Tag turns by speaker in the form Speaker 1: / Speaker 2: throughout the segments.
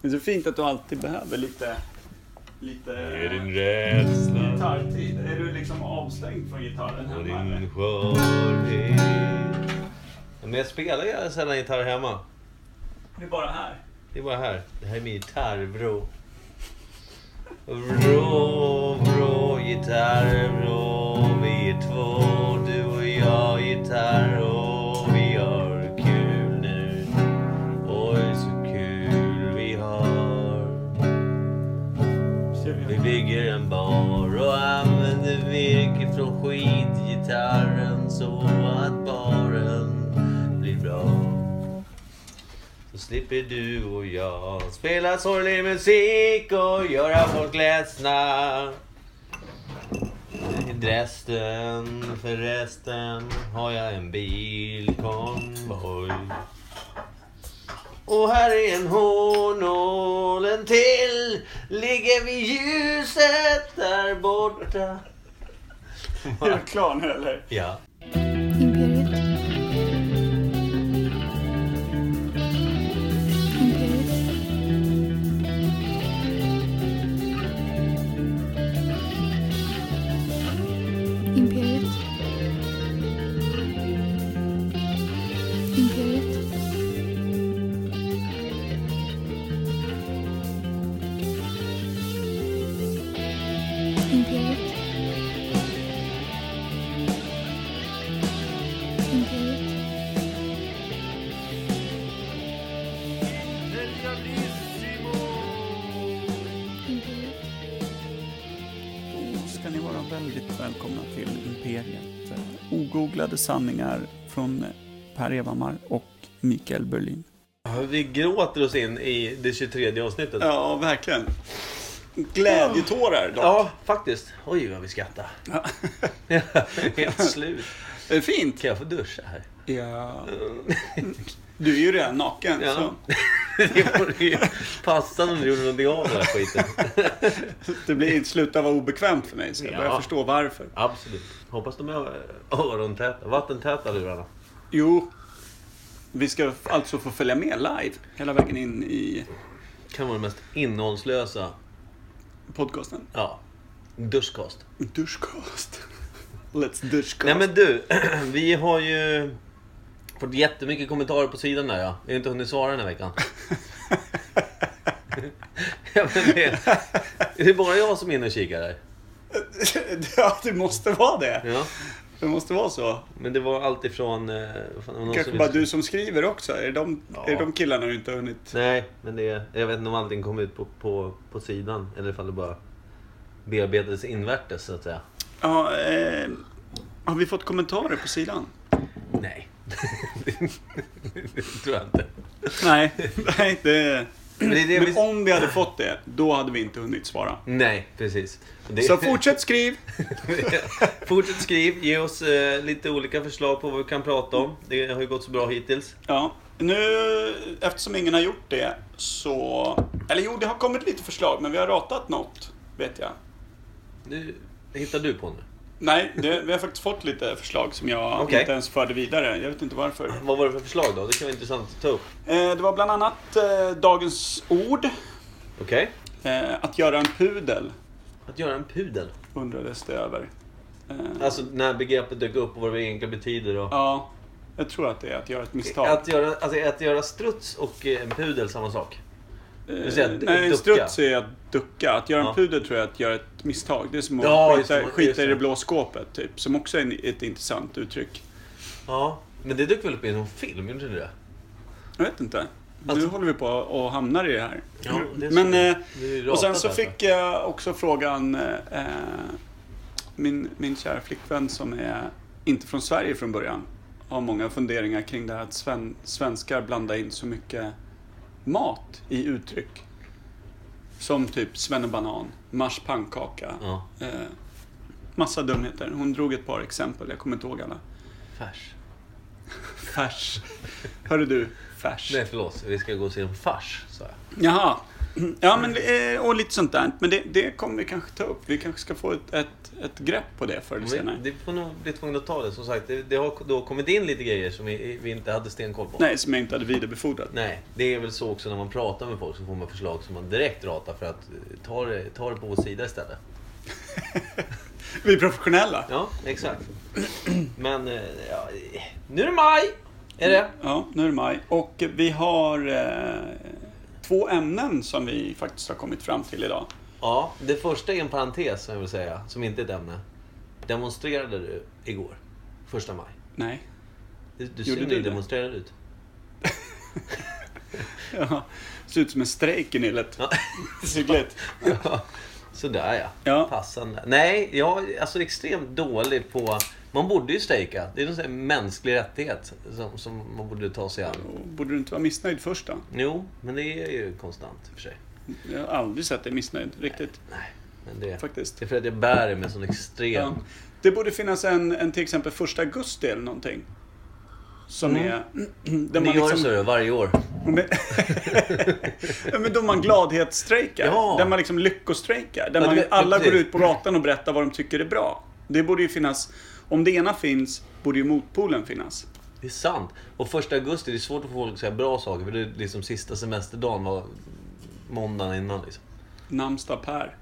Speaker 1: Det är så fint att du alltid behöver lite... Lite...
Speaker 2: Är din rädsla
Speaker 1: Gitarrtid. Är du liksom avstängd från gitarren
Speaker 2: och
Speaker 1: hemma? eller?
Speaker 2: din skörhet. Men jag spelar ju sällan gitarr hemma.
Speaker 1: Det är bara här.
Speaker 2: Det är bara här. Det här är min gitarr, bro. Vrå, vrå, gitarr, vrå. Vi är två, du och jag, gitarr. Och vi har kul nu. Oj, så kul vi har. Vi bygger en bar och använder virke från skitgitarren så att baren blir bra. Så slipper du och jag spela sorglig musik och göra folk ledsna. I Dresden, förresten, har jag en bilkonvoj. Och här är en honål, en till ligger vid ljuset där borta.
Speaker 1: Är du klar nu eller?
Speaker 2: Ja.
Speaker 3: Imperiet. Imperiet. Imperiet. Imperiet. Imperiet. Imperiet. Imperiet.
Speaker 1: Då Oh, ska ni vara väldigt välkomna till Imperiet. Eh, Ogooglade sanningar från Per Evhammar och Mikael Berlin.
Speaker 2: Vi gråter oss in i det 23 avsnittet. Ja,
Speaker 1: Ja, verkligen. Glädjetårar dock.
Speaker 2: faktiskt. Oj, vad vi skrattar.
Speaker 1: Ja.
Speaker 2: Helt slut.
Speaker 1: Det är fint.
Speaker 2: Kan jag få duscha här?
Speaker 1: Ja. Du är ju redan naken.
Speaker 2: Ja. Det vore ju passande om du gjorde någonting av den här skiten.
Speaker 1: Så det blir, slutar vara obekvämt för mig, så jag
Speaker 2: Ja.
Speaker 1: börjar förstå varför.
Speaker 2: Absolut. Hoppas de är örontäta, vattentäta lurarna.
Speaker 1: Jo, vi ska alltså få följa med live hela vägen in i
Speaker 2: Kan vara det mest innehållslösa.
Speaker 1: podcasten.
Speaker 2: Ja. Duschkost.
Speaker 1: Duschcast. Let's duschcast.
Speaker 2: Nej men du, vi har ju fått jättemycket kommentarer på sidan där ja. Vi har inte hunnit svara den här veckan. ja, men det, är det bara jag som är inne och kikar där?
Speaker 1: ja, det måste vara det.
Speaker 2: Ja.
Speaker 1: Det måste vara så.
Speaker 2: Men det var allt ifrån... eh, vad fan, det var någon
Speaker 1: Kanske
Speaker 2: som-
Speaker 1: bara du som skriver också. Är det de,
Speaker 2: Ja.
Speaker 1: är det de killarna du inte har hunnit...
Speaker 2: Nej, men det, jag vet inte om allting kom ut på, på, på sidan. Eller ifall det bara bearbetades invärtes så att säga.
Speaker 1: Ja, eh, har vi fått kommentarer på sidan?
Speaker 2: Nej. det tror jag inte.
Speaker 1: Nej, nej det...
Speaker 2: Men det är det
Speaker 1: Men
Speaker 2: vi...
Speaker 1: om vi hade fått det, då hade vi inte hunnit svara.
Speaker 2: Nej, precis. Det-
Speaker 1: Så fortsätt skriv!
Speaker 2: Fortsätt skriv, ge oss eh, lite olika förslag på vad vi kan prata om. Det har ju gått så bra hittills.
Speaker 1: Ja, nu eftersom ingen har gjort det så... Eller jo, det har kommit lite förslag, men vi har ratat något, vet jag.
Speaker 2: Nu hittar du på nu.
Speaker 1: Nej, det, vi har faktiskt fått lite förslag som jag
Speaker 2: Okej.
Speaker 1: inte ens förde vidare. Jag vet inte varför.
Speaker 2: Vad var det för förslag då? Det kan vara intressant att ta upp.
Speaker 1: Eh, det var bland annat eh, Dagens Ord.
Speaker 2: Okej.
Speaker 1: Eh, att göra en pudel
Speaker 2: Att göra en pudel.
Speaker 1: undrades det över. Eh,
Speaker 2: Alltså när begreppet dök upp och vad det egentligen betyder. Och...
Speaker 1: ja, jag tror att det är att göra ett misstag.
Speaker 2: Att, göra, alltså, att göra struts och eh, en pudel, samma sak.
Speaker 1: Eh,
Speaker 2: säga att
Speaker 1: nej,
Speaker 2: ducka.
Speaker 1: struts är att ducka. Att göra en
Speaker 2: Ja.
Speaker 1: pudel tror jag är att göra ett misstag. Det är som att
Speaker 2: Ja, just
Speaker 1: skita,
Speaker 2: det, just
Speaker 1: skita i
Speaker 2: det.
Speaker 1: det blå skåpet, typ. Som också är en, ett intressant uttryck.
Speaker 2: Ja. Men det dök väl upp i någon film, gjorde det det?
Speaker 1: Jag vet inte. Nu
Speaker 2: Alltså-
Speaker 1: håller vi på och hamnar i det här.
Speaker 2: Ja, det är så.
Speaker 1: Men, eh,
Speaker 2: Det är ju
Speaker 1: och sen
Speaker 2: ratat
Speaker 1: så
Speaker 2: alltså.
Speaker 1: fick jag också frågan, eh, min, min kära flickvän som är inte från Sverige från början, har många funderingar kring det här att sven, svenskar blandar in så mycket mat i uttryck. Som typ svennebanan, mars pannkaka,
Speaker 2: Ja.
Speaker 1: eh, massa dumheter. Hon drog ett par exempel, jag kommer inte ihåg alla.
Speaker 2: Färs.
Speaker 1: Färs. Hörru du, färs.
Speaker 2: Nej, förlåt. Vi ska gå och se en fars, sa jag.
Speaker 1: Jaha, Ja, men, eh, och lite sånt där. Men det, det kommer vi kanske ta upp. Vi kanske ska få ett, ett, ett grepp på det förr eller
Speaker 2: Men
Speaker 1: senare.
Speaker 2: Det får nog bli tvungna att ta det. Som sagt, det, det har då kommit in lite grejer som vi, vi inte hade stenkoll på.
Speaker 1: Nej, som jag inte hade vidarebefordrat.
Speaker 2: Nej, det är väl så också när man pratar med folk så får man förslag som man direkt ratar för att eh, ta det, ta det på vår sida istället.
Speaker 1: Vi är professionella.
Speaker 2: Ja, exakt. Men eh, ja, eh, nu är det maj! Är det?
Speaker 1: Ja, nu är det maj. Och vi har eh, två ämnen som vi faktiskt har kommit fram till idag.
Speaker 2: Ja, det första är en parentes som jag vill säga, som inte är ett ämne. Demonstrerade du igår? Första maj?
Speaker 1: Nej.
Speaker 2: Du, du
Speaker 1: Gjorde
Speaker 2: ser
Speaker 1: ni
Speaker 2: du
Speaker 1: det?
Speaker 2: demonstrerad ut.
Speaker 1: Ja, det ser ut som en strejk i nillet.
Speaker 2: Ja.
Speaker 1: Hyggligt.
Speaker 2: Ja, Sådär ja.
Speaker 1: Ja.
Speaker 2: Passande. Nej, jag är alltså extremt dålig på... Man borde ju strejka. Det är en sån här mänsklig rättighet som, som man borde ta sig an.
Speaker 1: Och Borde du inte vara missnöjd först då?
Speaker 2: Jo, men det är ju konstant i och för sig.
Speaker 1: Jag har aldrig sett dig missnöjd riktigt,
Speaker 2: Nej, men det,
Speaker 1: faktiskt.
Speaker 2: det är för att jag bär det med sån extrem...
Speaker 1: Ja. Det borde finnas en, en till exempel första augusti eller någonting. Som
Speaker 2: Mm.
Speaker 1: är... Där
Speaker 2: Men det
Speaker 1: man
Speaker 2: gör
Speaker 1: liksom,
Speaker 2: så varje år.
Speaker 1: Men- Ja, men då man gladhetsstrejkar.
Speaker 2: Ja.
Speaker 1: Där man liksom lyckostrejkar. Där
Speaker 2: Ja,
Speaker 1: man,
Speaker 2: det-
Speaker 1: alla
Speaker 2: precis.
Speaker 1: går ut på gatan och berättar vad de tycker är bra. Det borde ju finnas... Om det ena finns, borde ju motpolen finnas.
Speaker 2: Det är sant. Och första augusti, det är svårt att få folk att säga bra saker. För det är liksom sista semesterdagen var måndagen innan liksom.
Speaker 1: Namnsdag Per.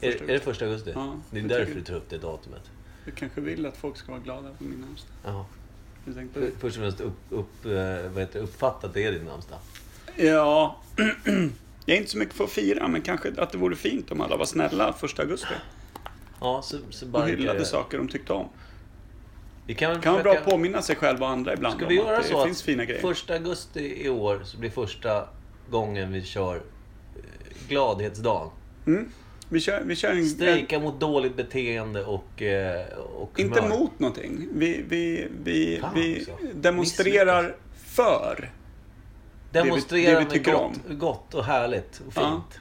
Speaker 2: Är,
Speaker 1: Första
Speaker 2: är det första augusti?
Speaker 1: Ja,
Speaker 2: det är
Speaker 1: det
Speaker 2: därför
Speaker 1: tycker
Speaker 2: du tar upp det datumet.
Speaker 1: Jag kanske vill att folk ska vara glada på min namnsdag.
Speaker 2: Ja.
Speaker 1: Jag tänkte-
Speaker 2: Först och främst upp, upp, eh, vad heter, det, uppfatta att det är din namnsdag.
Speaker 1: Ja... Jag är inte så mycket för att fira, men kanske att det vore fint om alla var snälla första augusti.
Speaker 2: Ja, så, så
Speaker 1: Och
Speaker 2: bara...
Speaker 1: hyllade saker de tyckte om.
Speaker 2: Vi kan väl
Speaker 1: kan vara bra
Speaker 2: försöka...
Speaker 1: att påminna sig själv och andra ibland
Speaker 2: Ska
Speaker 1: om
Speaker 2: vi göra
Speaker 1: att det
Speaker 2: så
Speaker 1: finns fina
Speaker 2: att
Speaker 1: grejer.
Speaker 2: första augusti i år så blir första gången vi kör eh, gladhetsdagen.
Speaker 1: Mm. Vi, kör, vi kör en... en-
Speaker 2: Strejka mot dåligt beteende och, eh, och
Speaker 1: Inte
Speaker 2: humör.
Speaker 1: mot någonting. Vi, vi, vi,
Speaker 2: Fan
Speaker 1: vi
Speaker 2: också.
Speaker 1: demonstrerar för.
Speaker 2: Demonstrera
Speaker 1: det vi tycker
Speaker 2: med gott, gott och härligt och
Speaker 1: Ja.
Speaker 2: fint.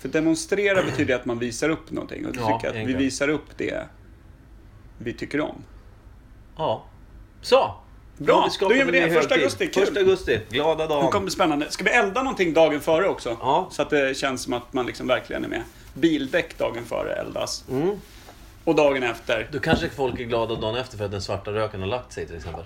Speaker 1: För demonstrera betyder att man visar upp någonting. Och då
Speaker 2: Ja,
Speaker 1: tycker jag att vi
Speaker 2: egentligen.
Speaker 1: visar upp det vi tycker om.
Speaker 2: Ja. Så! Nu
Speaker 1: Bra,
Speaker 2: har skapat
Speaker 1: då gör vi
Speaker 2: en
Speaker 1: det.
Speaker 2: ny
Speaker 1: Första
Speaker 2: högtid.
Speaker 1: augusti, kul.
Speaker 2: Första augusti, glada
Speaker 1: Nu
Speaker 2: dagen.
Speaker 1: kommer det spännande. Ska vi elda någonting dagen före också?
Speaker 2: Ja.
Speaker 1: Så att det känns som att man liksom verkligen är med. Bildäck dagen före eldas.
Speaker 2: Mm.
Speaker 1: Och dagen efter.
Speaker 2: Då kanske folk är glada dagen efter för att den svarta röken har lagt sig till exempel.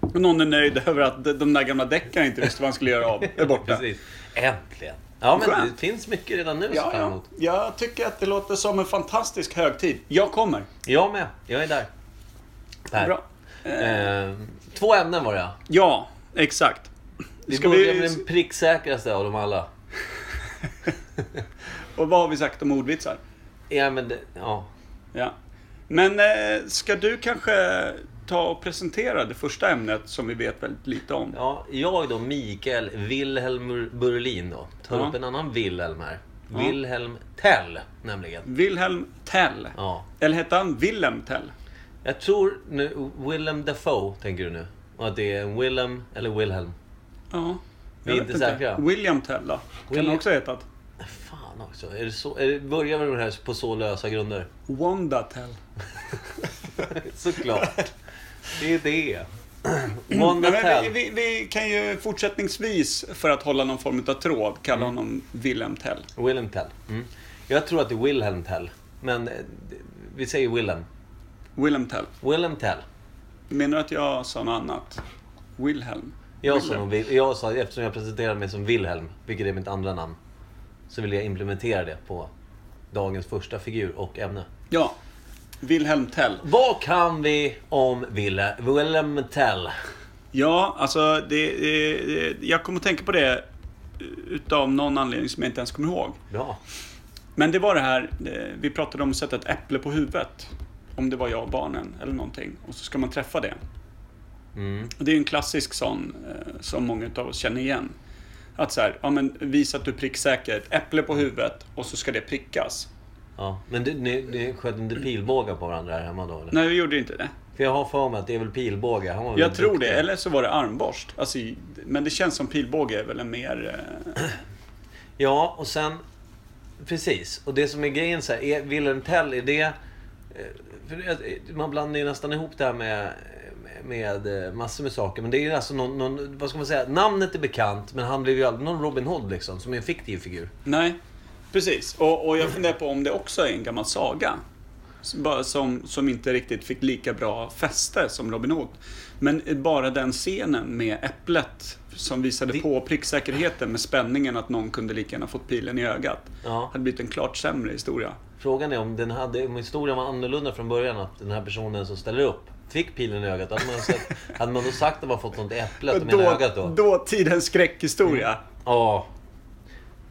Speaker 1: Och någon är nöjd över att de de där gamla däcken inte visste vad han skulle göra av. Är borta.
Speaker 2: Precis. Äntligen! Ja, men
Speaker 1: Skönt.
Speaker 2: det finns mycket redan nu
Speaker 1: Ja,
Speaker 2: ja,
Speaker 1: ja.
Speaker 2: emot.
Speaker 1: Jag tycker att det låter som en fantastisk högtid. Jag kommer.
Speaker 2: Jag med. Jag är där. Per.
Speaker 1: Bra.
Speaker 2: Eh, två ämnen var det, ja.
Speaker 1: Ja, exakt.
Speaker 2: Vi
Speaker 1: Ska
Speaker 2: börjar
Speaker 1: vi-
Speaker 2: med den pricksäkraste av dem alla.
Speaker 1: Och vad har vi sagt om ordvitsar?
Speaker 2: Ja, men det, ja.
Speaker 1: Ja. Men eh, ska du kanske ta och presentera det första ämnet som vi vet väldigt lite om?
Speaker 2: ja. Jag då, Mikael Wilhelm Bur- Burlin då, tar
Speaker 1: Ja.
Speaker 2: upp en annan Wilhelm här. Wilhelm Tell, nämligen.
Speaker 1: Wilhelm Tell.
Speaker 2: Ja.
Speaker 1: Eller hette han Willem Tell?
Speaker 2: Jag tror nu, Willem Dafoe, tänker du nu? Och att det är en Willem eller Wilhelm.
Speaker 1: Ja.
Speaker 2: Vi är
Speaker 1: Jag
Speaker 2: inte
Speaker 1: vet
Speaker 2: säkra.
Speaker 1: William Tell då? Kan
Speaker 2: William-
Speaker 1: han också ha hetat?
Speaker 2: Fan också. Är det så, är det, börjar vi med det här på så lösa grunder?
Speaker 1: Wanda Tell.
Speaker 2: Såklart. Det är det.
Speaker 1: Nej,
Speaker 2: Wanda
Speaker 1: men vi,
Speaker 2: Tell.
Speaker 1: vi, vi kan ju fortsättningsvis, för att hålla någon form av tråd, kalla honom Willem Tell.
Speaker 2: Willem Tell. Mm. Jag tror att det är Wilhelm Tell. Men eh, vi säger Willem.
Speaker 1: Willem Tell.
Speaker 2: Willem Tell.
Speaker 1: Menar du att jag sa något annat? Wilhelm?
Speaker 2: Jag
Speaker 1: Willem.
Speaker 2: sa, nog Wil- jag sa, eftersom jag presenterade mig som Wilhelm, vilket är mitt andra namn, så vill jag implementera det på dagens första figur och ämne.
Speaker 1: Ja. Wilhelm Tell.
Speaker 2: Vad kan vi om Wille, Willem Tell?
Speaker 1: Ja, alltså det, eh, jag kommer att tänka på det eh, utav någon anledning som jag inte ens kommer ihåg.
Speaker 2: Bra.
Speaker 1: Men det var det här, eh, vi pratade om att sätta ett äpple på huvudet. Om det var jag och barnen eller någonting. Och så ska man träffa det.
Speaker 2: Mm.
Speaker 1: Och det är ju en klassisk sån eh, som många av oss känner igen. Att så här, ja men visa att du är pricksäker. Ett äpple på huvudet och så ska det prickas.
Speaker 2: Ja, men du, ni, ni sköt inte pilbågar på varandra här hemma då? Eller?
Speaker 1: Nej, vi gjorde inte det.
Speaker 2: För jag har för mig att det är väl pilbågar. Han var väl
Speaker 1: Jag tror det,
Speaker 2: duktig.
Speaker 1: eller så var det armborst. Alltså, men det känns som pilbåge är väl en mer... eh,
Speaker 2: Ja, och sen... Precis. Och det som är grejen så här, är Wilhelm Tell, är det... eh, För det- man blandar ju nästan ihop det här med, med eh, massor med saker. Men det är alltså någon, någon, vad ska man säga, namnet är bekant men han blev ju aldrig någon Robin Hood liksom, som är en fiktiv figur.
Speaker 1: Nej, precis. Och, och jag funderar på om det också är en gammal saga. Som, bara som, som inte riktigt fick lika bra fäste som Robin Hood. Men bara den scenen med äpplet som visade
Speaker 2: Det-
Speaker 1: på pricksäkerheten med spänningen att någon kunde lika gärna fått pilen i ögat.
Speaker 2: Ja.
Speaker 1: Hade blivit en klart sämre historia.
Speaker 2: Frågan är om, den hade, om historien var annorlunda från början, att den här personen som ställer upp fick pilen i ögat. Hade man, sett, hade man då sagt att man fått något i äpplet och menar ögat då? Mm.
Speaker 1: dåtidens skräckhistoria.
Speaker 2: Ja.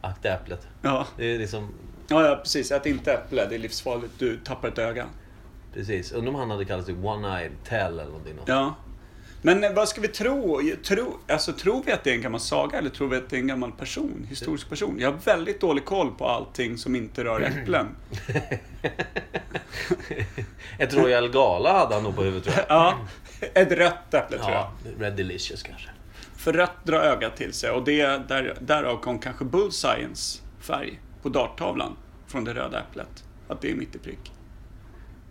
Speaker 2: Akta äpplet.
Speaker 1: Ja.
Speaker 2: Det är liksom,
Speaker 1: Ja, ja, precis. Ät inte äpple, det är livsfarligt. Du tappar ett öga.
Speaker 2: precis. Undrar om han hade kallat sig One-Eyed Tell eller någonting.
Speaker 1: Ja. Men eh, vad ska vi tro? tro? Alltså, tror vi att det är en gammal saga eller tror vi att det är en gammal person? Historisk person? Jag har väldigt dålig koll på allting som inte rör äpplen.
Speaker 2: Ett Royal Gala hade han nog på huvudet tror jag.
Speaker 1: Ja, ett rött äpple tror jag.
Speaker 2: Ja, Red Delicious kanske.
Speaker 1: För rött drar ögat till sig och det där, därav kom kanske bullseyens färg på darttavlan från det röda äpplet. Att det är mitt i prick.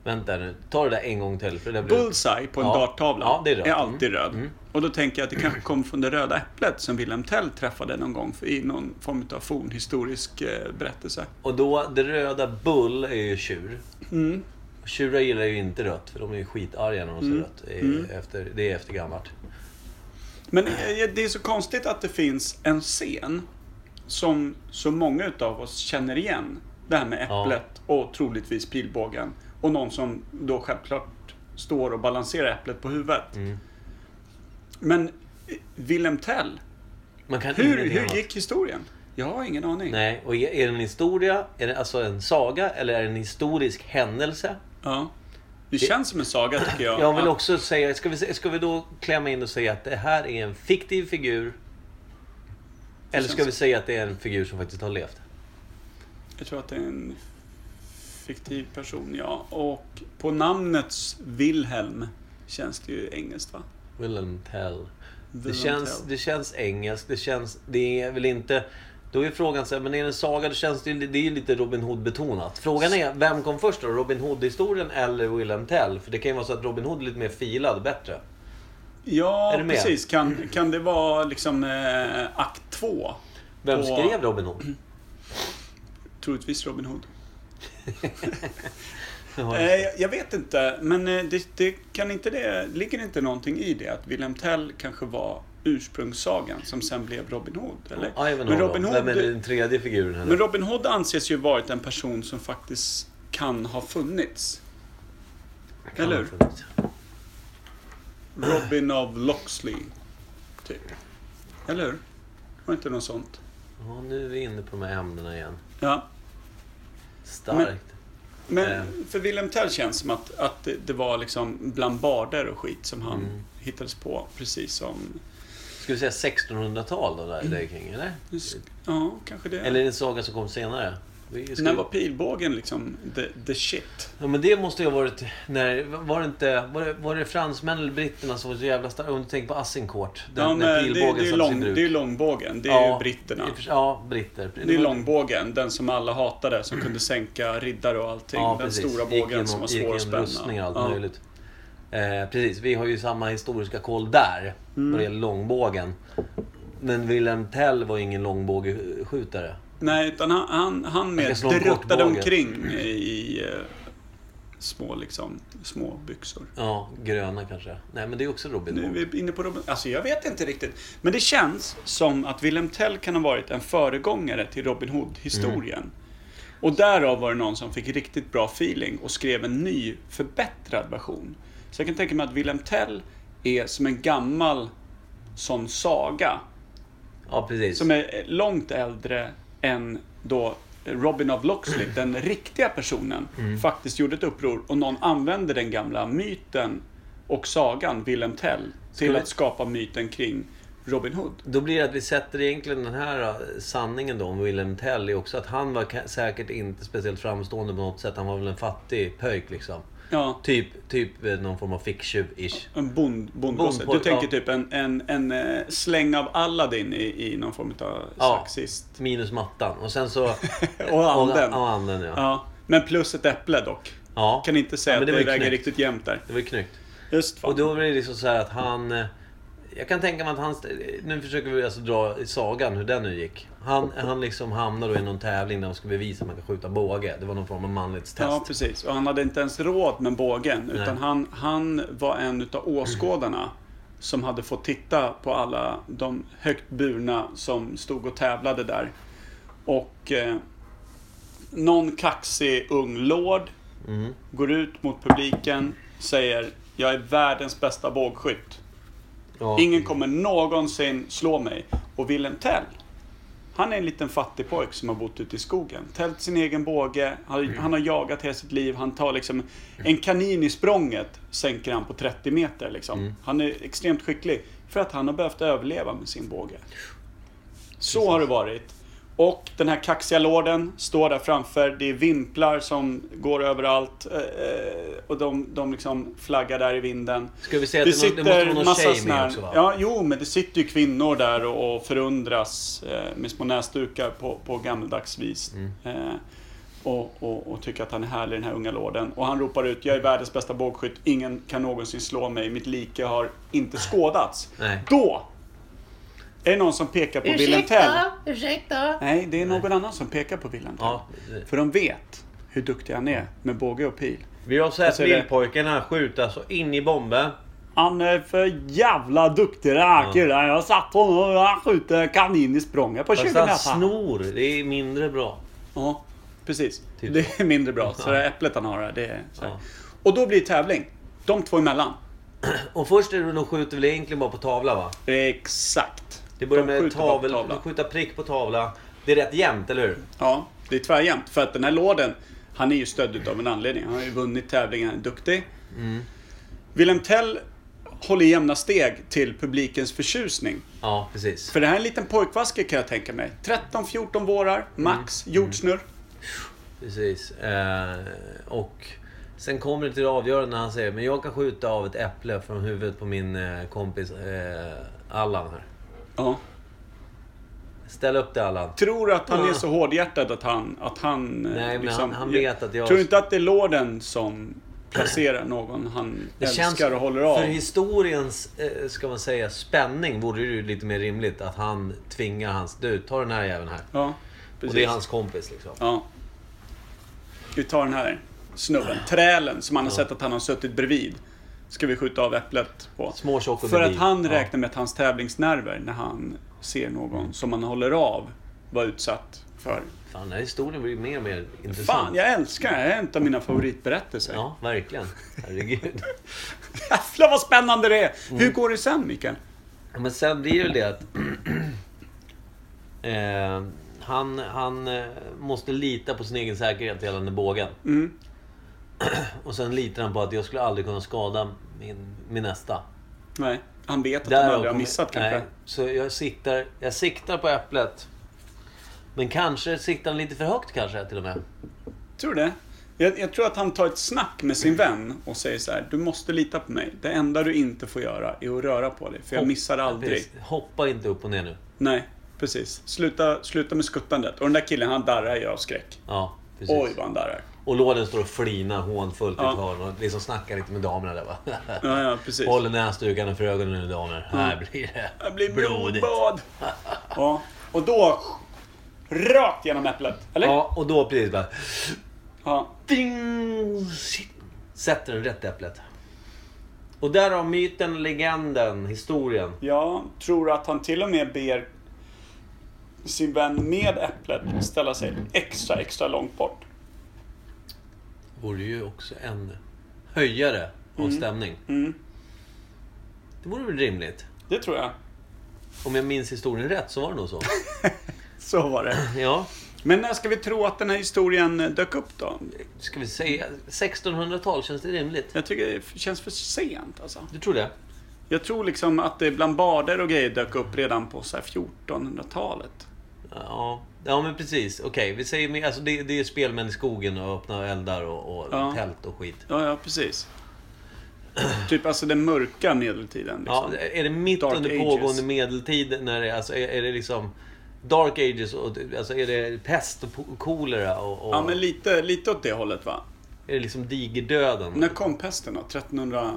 Speaker 2: Vänta nu, ta det där en gång till. För det där blir...
Speaker 1: Bullseye på en
Speaker 2: Ja.
Speaker 1: darttavla
Speaker 2: Ja, det är rött. Mm.
Speaker 1: alltid röd. Och då tänker jag att det kanske kom från det röda äpplet som Wilhelm Tell träffade någon gång i någon form av fornhistorisk eh, berättelse.
Speaker 2: Och då, det röda Bull är ju tjur.
Speaker 1: Mm.
Speaker 2: Och Tjurar gillar ju inte rött, för de är ju skitarga när de ser rött. Det är,
Speaker 1: Mm.
Speaker 2: efter, det är efter gammalt.
Speaker 1: Men eh, det är så konstigt att det finns en scen som så många utav oss känner igen. Det här med
Speaker 2: Ja.
Speaker 1: äpplet och troligtvis pilbågen. Och någon som då självklart står och balanserar äpplet på huvudet.
Speaker 2: Mm.
Speaker 1: Men eh, Wilhelm Tell,
Speaker 2: Man kan
Speaker 1: hur,
Speaker 2: ingenting
Speaker 1: hur
Speaker 2: annat.
Speaker 1: gick historien? Jag har ingen aning.
Speaker 2: Nej, och är är det en historia, är det alltså en saga eller är det en historisk händelse?
Speaker 1: Ja. Det känns som en saga tycker jag.
Speaker 2: Jag vill också säga, ska vi, ska vi då klämma in och säga att det här är en fiktiv figur? Eller ska
Speaker 1: känns-
Speaker 2: vi säga att det är en figur som faktiskt har levt?
Speaker 1: Jag tror att det är en fiktiv person, ja. Och på namnets Wilhelm känns det ju engelskt va?
Speaker 2: Willem Tell. Det
Speaker 1: Willem
Speaker 2: känns,
Speaker 1: Tell.
Speaker 2: det känns engelskt, det känns... Det är väl inte... Då är frågan så här, men är det en saga, då känns det ju det är ju lite Robin Hood-betonat. Frågan är, vem kom först då? Robin Hood-historien eller Willem Tell? För det kan ju vara så att Robin Hood är lite mer filad, bättre. Är
Speaker 1: Ja,
Speaker 2: du med?
Speaker 1: precis. Kan, kan det vara liksom eh, akt två?
Speaker 2: Vem
Speaker 1: på-
Speaker 2: skrev Robin Hood?
Speaker 1: Troligtvis Robin Hood.
Speaker 2: Ja,
Speaker 1: Eh, jag- jag vet inte, men eh, det, det, kan inte det, ligger inte någonting i det? Att Wilhelm Tell kanske var ursprungssagan som sen blev Robin Hood? Eller?
Speaker 2: Ivanhoe Robin Hood, Vem är den tredje figuren här?
Speaker 1: Men Robin Hood anses ju varit en person som faktiskt kan ha funnits.
Speaker 2: Kan
Speaker 1: eller
Speaker 2: ha
Speaker 1: hur?
Speaker 2: funnits.
Speaker 1: Robin of Loxley, typ. Eller hur? Var inte något sånt?
Speaker 2: Ja, nu är vi inne på de här ämnena igen.
Speaker 1: Ja.
Speaker 2: Starkt.
Speaker 1: Men
Speaker 2: Eh.
Speaker 1: för Wilhelm Tell känns som att, att det- det var liksom bland barder och skit som han
Speaker 2: Mm.
Speaker 1: hittades på. Precis som...
Speaker 2: Ska vi säga 1600-tal då, där, där kring, eller?
Speaker 1: Mm. Ja, kanske det.
Speaker 2: Eh. Eller är det en saga som kom senare? Vi- ska
Speaker 1: När
Speaker 2: vi-
Speaker 1: var pilbågen liksom the, the shit?
Speaker 2: Ja men det måste ju ha varit när, var det inte, var det, var det fransmän eller britterna som var så jävla starka? Om du tänker på Azincourt. Den,
Speaker 1: Ja,
Speaker 2: när
Speaker 1: men det, det,
Speaker 2: pilbågen
Speaker 1: är ju
Speaker 2: sattes i
Speaker 1: lång,
Speaker 2: bruk.
Speaker 1: det är ju långbågen, det är ju britterna.
Speaker 2: i och för sig- Ja, britter.
Speaker 1: Det är långbågen, den som alla hatade, som kunde sänka riddare och allting.
Speaker 2: Ja,
Speaker 1: den
Speaker 2: precis.
Speaker 1: stora
Speaker 2: Gick
Speaker 1: bågen som var
Speaker 2: genom- gick
Speaker 1: svår att
Speaker 2: genom
Speaker 1: spänna.
Speaker 2: rustningar och allt
Speaker 1: Ja.
Speaker 2: möjligt. Eh, precis, vi har ju samma historiska koll där.
Speaker 1: Mm.
Speaker 2: Vad det gäller långbågen. Men Wilhelm Tell var ju ingen långbågeskjutare.
Speaker 1: Nej, utan han, han, han
Speaker 2: kan
Speaker 1: med
Speaker 2: slå en
Speaker 1: druttade
Speaker 2: kortbåge.
Speaker 1: omkring i eh, små, liksom, små byxor.
Speaker 2: Ja, gröna kanske. Nej men det är också Robin
Speaker 1: Nu
Speaker 2: Hood.
Speaker 1: är vi inne på Robin... Alltså jag vet inte riktigt. Men det känns som att Wilhelm Tell kan ha varit en föregångare till Robin Hood-historien.
Speaker 2: Mm.
Speaker 1: Och därav var det någon som fick riktigt bra feeling och skrev en ny förbättrad version. Så jag kan tänka mig att Wilhelm Tell är som en gammal sån saga.
Speaker 2: Ja precis.
Speaker 1: Som är långt äldre än då Robin of Loxley, den riktiga personen,
Speaker 2: Mm.
Speaker 1: faktiskt gjorde ett uppror och någon använde den gamla myten och sagan Willem Tell till
Speaker 2: vi-
Speaker 1: att skapa myten kring Robin Hood.
Speaker 2: Då blir det att vi sätter egentligen den här eh, sanningen då om Willem Tell är också att han var ka- säkert inte speciellt framstående på något sätt. Han var väl en fattig pöjk liksom.
Speaker 1: Ja,
Speaker 2: Typ, typ eh, någon form av ficktjuv-ish.
Speaker 1: en bond, bondgosse. Du
Speaker 2: Bondpojk,
Speaker 1: tänker
Speaker 2: ja.
Speaker 1: typ en, en, en eh, släng av Aladdin i, i någon form av
Speaker 2: Ja.
Speaker 1: saxist.
Speaker 2: Minus mattan. Och sen så...
Speaker 1: Och anden.
Speaker 2: Och, och anden ja.
Speaker 1: Ja. Men plus ett äpple dock.
Speaker 2: ja.
Speaker 1: Kan inte säga
Speaker 2: Ja, men
Speaker 1: att det
Speaker 2: var ju
Speaker 1: väger
Speaker 2: knäckt.
Speaker 1: riktigt jämnt där.
Speaker 2: Det var ju knyggt.
Speaker 1: Just fan.
Speaker 2: Och då blir det liksom så här att han... eh, Jag kan tänka mig att han... Nu försöker vi alltså dra i sagan hur den nu gick. Han, han liksom hamnade då i någon tävling där de skulle bevisa att man kan skjuta båge. Det var någon form av manlighetstest.
Speaker 1: Ja, precis. Och han hade inte ens råd med bågen. Utan han, han var en utav åskådarna som hade fått titta på alla de högt burna som stod och tävlade där. Och eh, någon kaxig ung lord går ut mot publiken, säger jag är världens bästa bågskytt.
Speaker 2: Ja.
Speaker 1: Ingen kommer någonsin slå mig. Och Willem Tell, han är en liten fattig pojk som har bott ute i skogen. Tält sin egen båge, han, han har jagat hela sitt liv. Han tar liksom en kanin i språnget, sänker han på 30 meter. Liksom. Han är extremt skicklig för att han har behövt överleva med sin båge. Så har det varit. Och den här kaxiga lorden står där framför. Det är vimplar som går överallt. eh, eh, Och de, de liksom flaggar där i vinden.
Speaker 2: Ska vi säga att
Speaker 1: Det
Speaker 2: det, må- det måste
Speaker 1: sitter
Speaker 2: vara någon
Speaker 1: massa
Speaker 2: tjej med
Speaker 1: såna
Speaker 2: också va?
Speaker 1: här... Ja, jo, men det sitter ju kvinnor där och, och förundras eh, med små näsdukar på, på gammeldags vis.
Speaker 2: Mm.
Speaker 1: Eh, och, och, och tycker att han är härlig, den här unga lorden. Och han ropar ut, jag är världens bästa bågskytt, ingen kan någonsin slå mig, mitt like har inte skådats.
Speaker 2: Nej.
Speaker 1: Då! Är det någon som pekar på Wilhelm Tell? Nej, det är någon annan som pekar på Wilhelm Tell.
Speaker 2: Ja.
Speaker 1: För de vet hur duktig han är med båge och pil.
Speaker 2: Vi har sett
Speaker 1: ser det.
Speaker 2: lillpojken han skjuta så in i bomben.
Speaker 1: Han är för jävla duktig den här
Speaker 2: Ja.
Speaker 1: killen. Jag satt honom och han skjuter kanin i språnget på 20
Speaker 2: Fast han
Speaker 1: meter.
Speaker 2: snor. Det är mindre bra.
Speaker 1: Ja, precis.
Speaker 2: Typ.
Speaker 1: Det är mindre bra. Så det här äpplet han har här, det är så här.
Speaker 2: Ja.
Speaker 1: Och då blir det tävling. De två emellan.
Speaker 2: Och först är det de skjuter väl egentligen bara på tavla va?
Speaker 1: Exakt.
Speaker 2: Det börjar
Speaker 1: De
Speaker 2: med
Speaker 1: skjuter bara på
Speaker 2: tavel,
Speaker 1: tavlan.
Speaker 2: de skjuter prick på tavla. Det är rätt jämnt, eller hur?
Speaker 1: Ja, det är tvärjämnt. För att den här lorden, han är ju stödd utav en anledning. Han har ju vunnit tävlingen, han är duktig.
Speaker 2: Mm.
Speaker 1: Willem Tell håller jämna steg till publikens förtjusning.
Speaker 2: Ja, precis.
Speaker 1: För det här är en liten pojkvasker kan jag tänka mig. 13-14 vårar, max,
Speaker 2: Mm.
Speaker 1: jordsnurr.
Speaker 2: Precis. Eh, och sen kommer det till det avgörande när han säger men jag kan skjuta av ett äpple från huvudet på min eh, kompis eh, Allan här.
Speaker 1: Ja.
Speaker 2: Ställ upp det Allan.
Speaker 1: Tror att han
Speaker 2: Ja.
Speaker 1: är så hårdhjärtad att han... Att han eh, liksom-
Speaker 2: Nej, men han- han vet att jag-
Speaker 1: Tror inte att det är lorden som placerar någon han
Speaker 2: Det
Speaker 1: älskar och håller av?
Speaker 2: För historiens, eh, ska man säga, spänning vore det ju lite mer rimligt att han tvingar hans... Du, ta den här jäveln här.
Speaker 1: Ja,
Speaker 2: och
Speaker 1: precis.
Speaker 2: det är hans kompis liksom.
Speaker 1: Ja. Vi tar den här snubben. Trälen som han har sett att han har suttit bredvid. Ska vi skjuta av äpplet på.
Speaker 2: Små, tjock och
Speaker 1: För att
Speaker 2: bredvid.
Speaker 1: han
Speaker 2: Ja.
Speaker 1: räknar med att hans tävlingsnerver när han ser någon som han håller av var utsatt för.
Speaker 2: Fan, den här historien blir mer och mer intressant.
Speaker 1: Fan, jag älskar den. Det är en av mina favoritberättelser.
Speaker 2: Ja, verkligen. Herregud.
Speaker 1: Jävlar vad spännande det är!
Speaker 2: Mm.
Speaker 1: Hur går det sen Mikael?
Speaker 2: Ja, Men sen blir det ju det att... eh, han han eh, måste lita på sin egen säkerhet gällande bågen.
Speaker 1: Mm.
Speaker 2: och sen litar han på att jag skulle aldrig kunna skada min, min nästa.
Speaker 1: Nej, han vet att
Speaker 2: Därav
Speaker 1: han aldrig har
Speaker 2: kommer-
Speaker 1: missat kanske.
Speaker 2: Nej, så jag siktar, jag siktar på äpplet. Men kanske siktar han lite för högt kanske till och med.
Speaker 1: Tror du det? Jag, jag tror att han tar ett snack med sin vän och säger så här. Du måste lita på mig. Det enda du inte får göra är att röra på dig. För jag missar aldrig.
Speaker 2: Precis. Hoppa inte upp och ner nu.
Speaker 1: Nej, precis. Sluta, sluta med skuttandet. Och den där killen, han darrar ju av skräck.
Speaker 2: Ja, precis.
Speaker 1: Oj, vad han darrar.
Speaker 2: Och låden står och flinar hånfullt i
Speaker 1: Ja.
Speaker 2: ett hörn och liksom snackar lite med damerna där va.
Speaker 1: Ja, ja, precis.
Speaker 2: Håller näsdukarna för ögonen nu damer. Här blir det
Speaker 1: Det blir blodbad. Ja, och då... Rakt genom äpplet. Eller?
Speaker 2: Ja, och då precis bara...
Speaker 1: ja.
Speaker 2: Ding! Shit. Sätter den rätt i äpplet. Och därav myten, legenden, historien.
Speaker 1: Jag tror att han till och med ber sin vän med äpplet ställa sig extra, extra långt bort.
Speaker 2: Vore ju också en höjare av stämning.
Speaker 1: Mm.
Speaker 2: Det vore väl rimligt?
Speaker 1: Det tror jag.
Speaker 2: Om jag minns historien rätt så var det nog så.
Speaker 1: Så var det.
Speaker 2: Ja,
Speaker 1: Men när ska vi tro att den här historien eh, dök upp då?
Speaker 2: ska vi säga 1600-tal, känns det rimligt?
Speaker 1: Jag tycker det känns för sent alltså.
Speaker 2: Du tror det?
Speaker 1: Jag tror liksom att det bland barder och grejer dök upp redan på så här 1400-talet.
Speaker 2: Ja, ja men precis. Okej, vi säger mer. Alltså det, det är spelmän i skogen och öppna eldar och, och
Speaker 1: Ja.
Speaker 2: tält och skit.
Speaker 1: Ja, ja, precis. Typ alltså den mörka medeltiden.
Speaker 2: Ja,
Speaker 1: Liksom.
Speaker 2: är det mitt
Speaker 1: Dark
Speaker 2: under
Speaker 1: Ages.
Speaker 2: pågående medeltid? När det, alltså, är, är det liksom Dark Ages? Och, alltså är det pest och po- kolera? Och, och,
Speaker 1: Ja, men lite, lite åt det hållet va?
Speaker 2: Är det liksom digerdöden?
Speaker 1: När kom pesten då? 1300?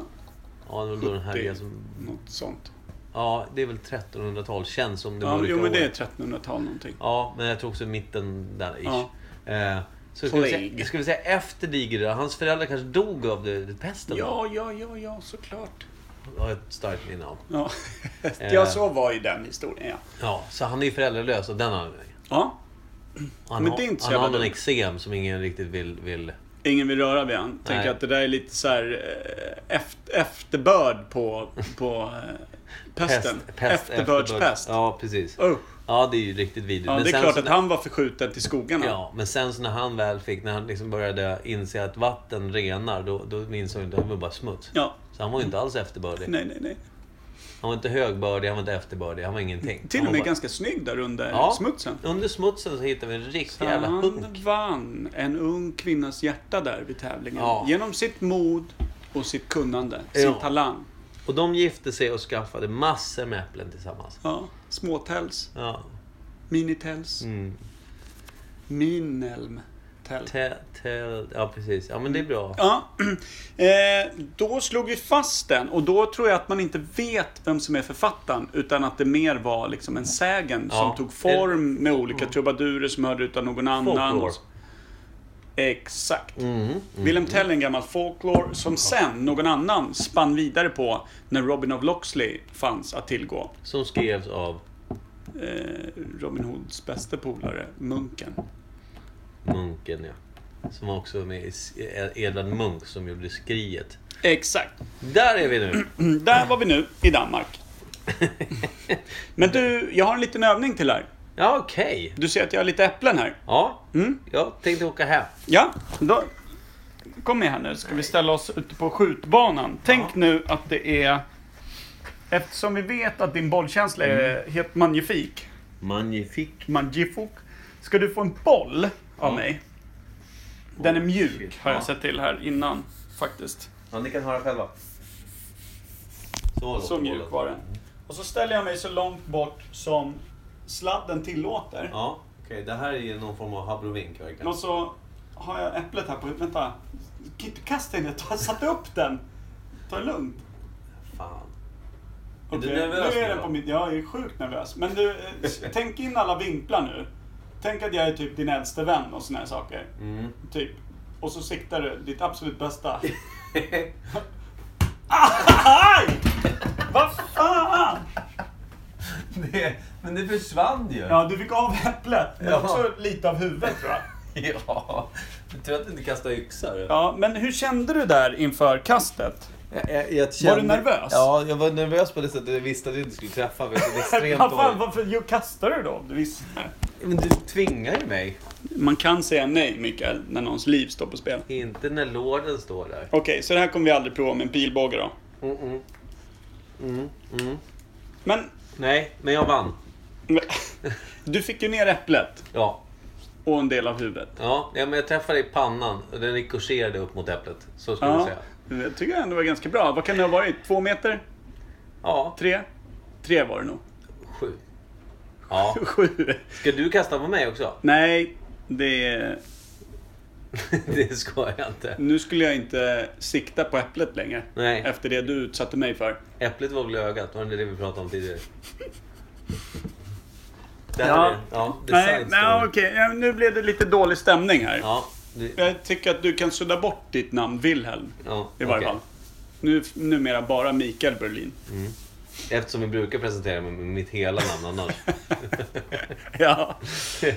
Speaker 2: Ja, det var då den här
Speaker 1: 70.
Speaker 2: grejen som...
Speaker 1: Något sånt.
Speaker 2: Ja, det är väl 1300-tal, känns som det
Speaker 1: Ja,
Speaker 2: mörka
Speaker 1: jo, men det är
Speaker 2: året.
Speaker 1: 1300-tal någonting.
Speaker 2: Ja, men jag tror också mitten där ish.
Speaker 1: Ja.
Speaker 2: Eh, så ska vi, säga,
Speaker 1: Plague.
Speaker 2: ska vi säga efter Digerdöden, hans föräldrar kanske dog av det, det pesten?
Speaker 1: Ja, ja, ja, ja, såklart.
Speaker 2: Har jag ett starkt minne av.
Speaker 1: Ja,
Speaker 2: Eh.
Speaker 1: ja så var ju den historien, ja.
Speaker 2: Ja, så han är ju föräldralös av den anledningen.
Speaker 1: ja.
Speaker 2: Han,
Speaker 1: Men
Speaker 2: har-
Speaker 1: det är inte så
Speaker 2: han
Speaker 1: jävla
Speaker 2: har någon
Speaker 1: dumt.
Speaker 2: eksem som ingen riktigt vill... vill.
Speaker 1: Ingen vill röra vid han.
Speaker 2: Nej.
Speaker 1: Tänker att det där är lite så här eh, eft- efterbörd på, på eh, pesten. Efterbördspest.
Speaker 2: Ja, precis.
Speaker 1: Oh.
Speaker 2: Ja, det är ju riktigt vidrigt.
Speaker 1: Ja,
Speaker 2: Men
Speaker 1: det är
Speaker 2: sen
Speaker 1: klart
Speaker 2: så-
Speaker 1: att han var förskjuten till skogarna.
Speaker 2: Ja, men sen så när han väl fick, när han liksom började inse att vatten renar, då, då insåg han att det var bara smuts.
Speaker 1: Ja.
Speaker 2: Så han var ju inte alls efterbördig.
Speaker 1: Nej, nej, nej.
Speaker 2: Han var inte högbördig, han var inte efterbördig, han var ingenting.
Speaker 1: Till
Speaker 2: han
Speaker 1: och med
Speaker 2: var
Speaker 1: ganska snygg där under
Speaker 2: Ja.
Speaker 1: smutsen.
Speaker 2: bara... Under smutsen så hittade vi en riktig jävla
Speaker 1: Han
Speaker 2: hunk.
Speaker 1: vann en ung kvinnas hjärta där vid tävlingen.
Speaker 2: Ja.
Speaker 1: Genom sitt mod och sitt kunnande,
Speaker 2: Ja.
Speaker 1: sin talang.
Speaker 2: Och de gifte sig och skaffade massor med äpplen tillsammans.
Speaker 1: Ja. Småtäls,
Speaker 2: Ja.
Speaker 1: minitäls,
Speaker 2: Mm.
Speaker 1: minelm. Täl.
Speaker 2: Te, te, ja, precis. Ja, men det är bra.
Speaker 1: Ja, eh, då slog vi fast den och då tror jag att man inte vet vem som är författaren utan att det mer var liksom en sägen
Speaker 2: Ja.
Speaker 1: som
Speaker 2: Mm.
Speaker 1: tog form med olika trubadurer som hörde utav någon annan.
Speaker 2: Folklore.
Speaker 1: Exakt.
Speaker 2: Mm.
Speaker 1: Wilhelm Tell är en gammal folklore som sen någon annan spann vidare på när Robin of Loxley fanns att tillgå.
Speaker 2: Som skrevs av
Speaker 1: Eh, Robin Hoods bästa polare, munken.
Speaker 2: munken, ja. Som var också med i S- Edvard Munch som gjorde Skriet.
Speaker 1: Exakt.
Speaker 2: Där är vi nu!
Speaker 1: Mm, Där var vi nu i Danmark. Men du, jag har en liten övning till här.
Speaker 2: Ja, okej.
Speaker 1: Du ser att jag har lite äpplen här.
Speaker 2: Ja,
Speaker 1: Mm.
Speaker 2: jag tänkte åka hem.
Speaker 1: Ja, då... Kom med här nu, ska vi ställa oss ute på skjutbanan. Tänk nu att det är... Eftersom vi vet att din bollkänsla är helt magnifik.
Speaker 2: Magnifik.
Speaker 1: Magnifok. Ska du få en boll av mig? Den är mjuk, har jag
Speaker 2: Ja.
Speaker 1: sett till här innan faktiskt.
Speaker 2: Ja, ni kan höra själva. Så,
Speaker 1: Så mjuk var den. Och så ställer jag mig så långt bort som sladden tillåter.
Speaker 2: Ja, okej. Det här är ju någon form av abrovink verkligen.
Speaker 1: Och så har jag äpplet här på Vänta. Kan inte kasta in det. Ta- Sätt upp den. Ta det lugnt.
Speaker 2: Fan. Är du
Speaker 1: Okej,
Speaker 2: nervös
Speaker 1: nu är
Speaker 2: nu
Speaker 1: den
Speaker 2: då?
Speaker 1: på mitt... Jag är sjukt nervös. Men du, eh, s- tänk in alla vinklar nu. Tänk att jag är typ din äldste vän och såna här saker.
Speaker 2: Mm.
Speaker 1: Typ. Och så siktar du ditt absolut bästa. Aj! Vad fan!
Speaker 2: det, men det försvann ju.
Speaker 1: Ja, du fick av äpplet. Men
Speaker 2: Ja.
Speaker 1: också lite av huvudet tror jag.
Speaker 2: ja. Jag tror att du inte kastar yxor.
Speaker 1: Ja, men hur kände du där inför kastet?
Speaker 2: Jag, jag, jag kände,
Speaker 1: nervös?
Speaker 2: Ja, jag var nervös på det sättet. Jag visste att jag inte skulle träffa. Jag var extremt
Speaker 1: Vad fan,
Speaker 2: dålig.
Speaker 1: varför ju, kastar du då? om Du visste.
Speaker 2: Men du tvingar ju mig.
Speaker 1: Man kan säga nej, Mikael, när någons liv står på spel.
Speaker 2: Inte när lorden står där.
Speaker 1: Okej, så det här kommer vi aldrig prova med en pilbåge då.
Speaker 2: Mm, mm. Mm, mm.
Speaker 1: Men,
Speaker 2: Nej, men jag vann.
Speaker 1: du fick ju ner äpplet
Speaker 2: Ja,
Speaker 1: och en del av huvudet.
Speaker 2: Ja, ja, men jag träffade i pannan och den ricocherade upp mot äpplet. Så skulle jag
Speaker 1: Ja,
Speaker 2: säga.
Speaker 1: det tycker jag ändå var ganska bra. Vad kan det ha varit? Två meter?
Speaker 2: Ja,
Speaker 1: Tre? Tre var det nog.
Speaker 2: sju. Ja.
Speaker 1: Sju?
Speaker 2: Ska du kasta på mig också?
Speaker 1: Nej, det...
Speaker 2: Det ska jag inte.
Speaker 1: Nu skulle jag inte sikta på äpplet längre.
Speaker 2: Nej.
Speaker 1: Efter det du utsatte mig för.
Speaker 2: Äpplet var väl i ögat? Var det det vi pratade om tidigare? Där
Speaker 1: Ja.
Speaker 2: är det. Ja,
Speaker 1: Nej,
Speaker 2: design
Speaker 1: nej
Speaker 2: story.
Speaker 1: okej. Ja, Nu blev det lite dålig stämning här.
Speaker 2: Ja, det,
Speaker 1: Jag tycker att du kan sudda bort ditt namn Wilhelm.
Speaker 2: ja,
Speaker 1: I varje
Speaker 2: okej. Mm.
Speaker 1: fall. Nu, numera bara Mikael Berlin.
Speaker 2: Eftersom vi brukar presentera mig med mitt hela namn annars.
Speaker 1: Ja. eh,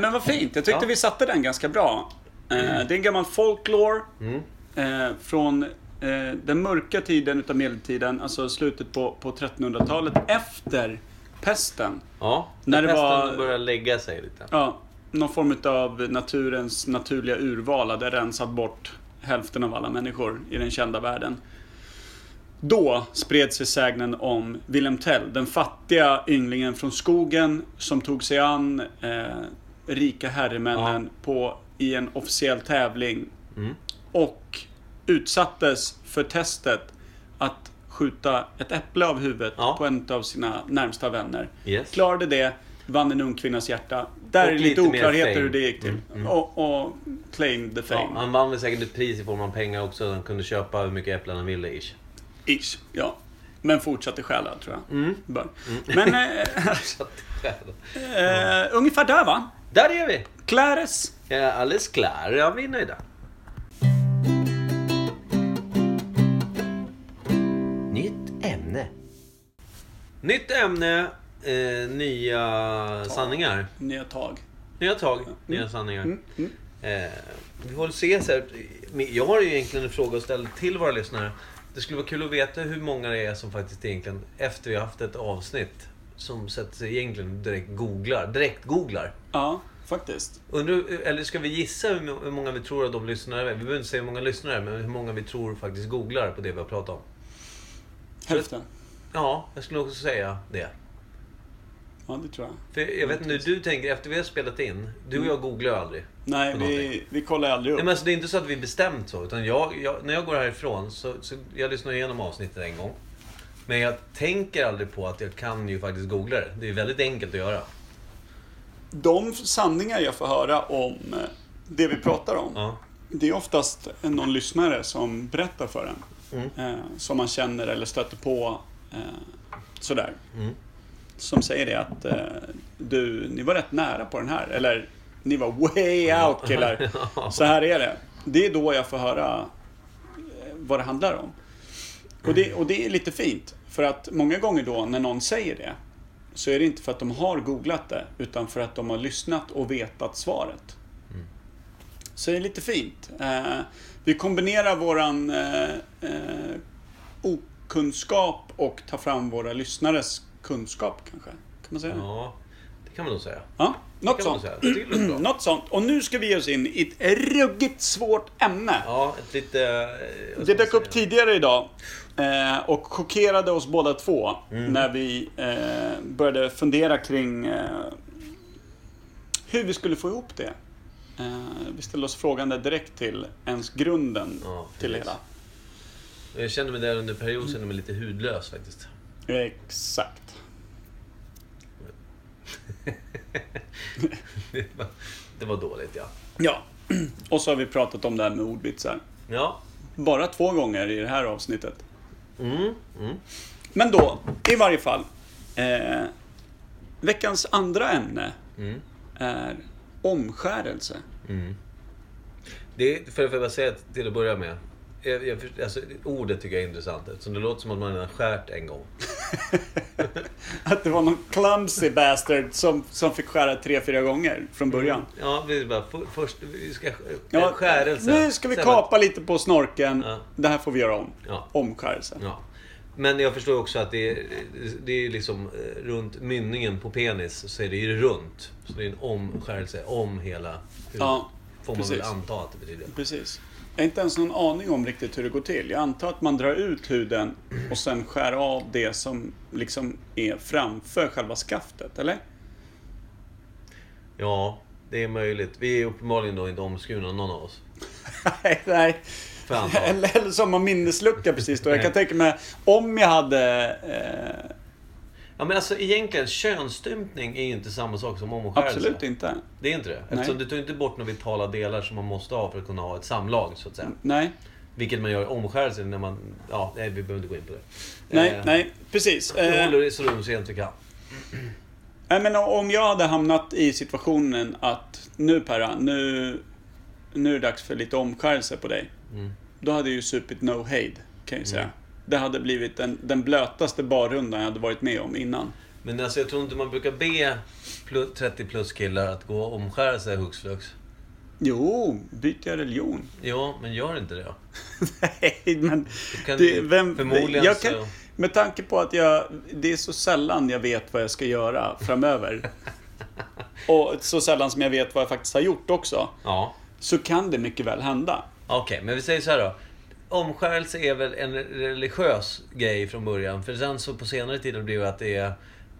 Speaker 1: men vad fint. Jag tyckte
Speaker 2: Ja.
Speaker 1: vi satte den ganska bra. Eh, Det är en gammal folklore.
Speaker 2: Mm.
Speaker 1: Eh, från eh, den mörka tiden utav medeltiden, alltså slutet på, på 1300-talet efter pesten.
Speaker 2: Ja,
Speaker 1: När det
Speaker 2: när det
Speaker 1: var-
Speaker 2: börjar lägga sig lite.
Speaker 1: Ja, någon form utav naturens naturliga urval hade rensat bort hälften av alla människor i den kända världen. Då spred sig sägnen om Wilhelm Tell, den fattiga ynglingen från skogen som tog sig an eh, rika herremännen på, i en officiell tävling
Speaker 2: Mm.
Speaker 1: och utsattes för testet att skjuta ett äpple av huvudet
Speaker 2: Ja.
Speaker 1: på en av sina närmsta vänner.
Speaker 2: Yes.
Speaker 1: Klarade det, vann en ung kvinnas hjärta. Där
Speaker 2: Och
Speaker 1: är det
Speaker 2: lite
Speaker 1: lite
Speaker 2: mer
Speaker 1: oklarheter
Speaker 2: fame. Mm,
Speaker 1: hur det gick till. Och, och claimed the
Speaker 2: Ja,
Speaker 1: fame.
Speaker 2: han vann väl säkert ett pris i form av pengar också. Han kunde köpa hur mycket äpplen han ville ish.
Speaker 1: Ish, ja. Men fortsatte stjäla, tror jag.
Speaker 2: Mm.
Speaker 1: Bör. Men eh, eh, ungefär där, va?
Speaker 2: Där är vi!
Speaker 1: Clares.
Speaker 2: Ja, alldeles klar. Ja, vi är nöjda. Nytt ämne. Nytt ämne, eh, nya sanningar.
Speaker 1: Nya tag.
Speaker 2: Nya tag, nya sanningar. Eh, vi får väl se. Så här, men jag har ju egentligen en fråga att ställa till våra lyssnare. Det skulle vara kul att veta hur många det är som faktiskt egentligen, efter vi har haft ett avsnitt, som sätter sig egentligen direkt googlar. Direkt googlar.
Speaker 1: Ja, faktiskt.
Speaker 2: Undrar, eller ska vi gissa hur hur många vi tror av de lyssnare, vi behöver inte säga hur många lyssnare, men hur många vi tror faktiskt googlar på det vi har pratat om?
Speaker 1: Hälften.
Speaker 2: Ja, jag skulle nog också säga det.
Speaker 1: Ja, det tror jag.
Speaker 2: För jag vet inte hur du tänker, efter vi har spelat in, du och jag googlar ju aldrig.
Speaker 1: Nej,
Speaker 2: På
Speaker 1: vi, vi kollar aldrig upp.
Speaker 2: Nej, men alltså, det är inte så att vi bestämt så, utan jag, jag, när jag går härifrån så, så jag lyssnar igenom avsnittet en gång. Men jag tänker aldrig på att jag kan ju faktiskt googla det. Det är väldigt enkelt att göra.
Speaker 1: De sanningar jag får höra om eh, det vi pratar om,
Speaker 2: Ja.
Speaker 1: det är oftast någon lyssnare som berättar för en. Eh, som man känner eller stöter på. Eh, sådär.
Speaker 2: Mm.
Speaker 1: Som säger det att eh, du, ni var rätt nära på den här. Eller, ni var way out killar. Så här är det. Det är då jag får höra eh, vad det handlar om. Och det, och det är lite fint. För att många gånger då när någon säger det så är det inte för att de har googlat det utan för att de har lyssnat och vetat svaret. Så det är lite fint. Eh, vi kombinerar våran eh, eh, okunskap och tar fram våra lyssnares kunskap kanske. Kan man säga det?
Speaker 2: ja, det kan man nog säga.
Speaker 1: Ja, något
Speaker 2: Det kan man
Speaker 1: sånt.
Speaker 2: säga. Jag tycker det låter bra.
Speaker 1: Något sånt. Och nu ska vi ge oss in i ett ruggigt svårt ämne.
Speaker 2: Ja, ett lite... eh, vad ska
Speaker 1: Det
Speaker 2: man
Speaker 1: dök upp
Speaker 2: säga?
Speaker 1: tidigare idag eh, och chockerade oss båda två
Speaker 2: Mm.
Speaker 1: när vi eh, började fundera kring eh, hur vi skulle få ihop det. Eh, Vi ställde oss frågan där direkt till ens grunden
Speaker 2: Ja,
Speaker 1: till det
Speaker 2: precis.
Speaker 1: hela.
Speaker 2: Jag kände mig där under perioden kände mig lite hudlös faktiskt.
Speaker 1: Exakt.
Speaker 2: Det var- det var dåligt ja.
Speaker 1: Ja, och så har vi pratat om det här med ordvitsar.
Speaker 2: Ja.
Speaker 1: Bara två gånger i det här avsnittet.
Speaker 2: Mm. Mm.
Speaker 1: Men då, i varje fall. Eh, veckans andra ämne
Speaker 2: Mm.
Speaker 1: är omskärelse.
Speaker 2: Det, för för att bara säga till att börja med. Jag, jag, först- alltså, ordet tycker jag är intressant eftersom det låter som att man redan skärt en gång.
Speaker 1: Att det var någon clumsy bastard som, som fick skära tre, fyra gånger från
Speaker 2: Mm.
Speaker 1: början.
Speaker 2: Ja, vi bara för, först, vi ska
Speaker 1: Ja,
Speaker 2: ja, skärelse.
Speaker 1: Nu ska vi
Speaker 2: Sen bara-
Speaker 1: kapa lite på snorken.
Speaker 2: Ja.
Speaker 1: Det här får vi göra om.
Speaker 2: Ja.
Speaker 1: Omskärelse.
Speaker 2: Ja. Men jag förstår också att det är, det är liksom eh, runt mynningen på penis så är det ju runt. Så det är en omskärelse om hela huvudet.
Speaker 1: Ja,
Speaker 2: Får man väl
Speaker 1: precis.
Speaker 2: anta att det betyder.
Speaker 1: Precis. Jag har inte ens någon aning om riktigt hur det går till. Jag antar att man drar ut huden och sen skär av det som liksom är framför själva skaftet, eller?
Speaker 2: Ja, det är möjligt. Vi är uppenbarligen då inte omskurna någon av oss.
Speaker 1: Nej, nej.
Speaker 2: Får jag anta.
Speaker 1: Eller, eller som en minneslucka precis då. Jag kan
Speaker 2: Nej.
Speaker 1: tänka mig om jag hade... Eh,
Speaker 2: Ja, men alltså egentligen, könsstympning är ju inte samma sak som omskärelse.
Speaker 1: absolut inte.
Speaker 2: Det är inte det. Eftersom
Speaker 1: Nej.
Speaker 2: du tar inte bort några vitala delar som man måste ha för att kunna ha ett samlag, så att säga.
Speaker 1: Nej.
Speaker 2: Vilket man gör i omskärelse när man... Ja, nej, vi behöver inte gå in på det.
Speaker 1: Nej,
Speaker 2: Eh,
Speaker 1: nej, precis.
Speaker 2: Vi
Speaker 1: Eh,
Speaker 2: håller det så rumsrent vi kan.
Speaker 1: Nej, men om jag hade hamnat i situationen att nu Perra, nu, nu är det dags för lite omskärelse på dig.
Speaker 2: Mm.
Speaker 1: Då hade jag ju supit no hate, kan jag ju säga. Det hade blivit den, den blötaste barrundan jag hade varit med om innan.
Speaker 2: Men alltså, jag tror inte man brukar be plu- 30 plus killar att gå och omskära sig hux flux.
Speaker 1: Jo, byter jag religion?
Speaker 2: Ja, men gör inte det då.
Speaker 1: Nej, men...
Speaker 2: kan-
Speaker 1: det, vem,
Speaker 2: förmodligen
Speaker 1: jag kan,
Speaker 2: så-
Speaker 1: Med tanke på att jag, det är så sällan jag vet vad jag ska göra framöver. Och så sällan som jag vet vad jag faktiskt har gjort också.
Speaker 2: Ja.
Speaker 1: Så kan det mycket väl hända.
Speaker 2: Okej, men vi säger så här då. Omskärelse är väl en religiös grej från början. För sen så på senare tid har det blivit att det är...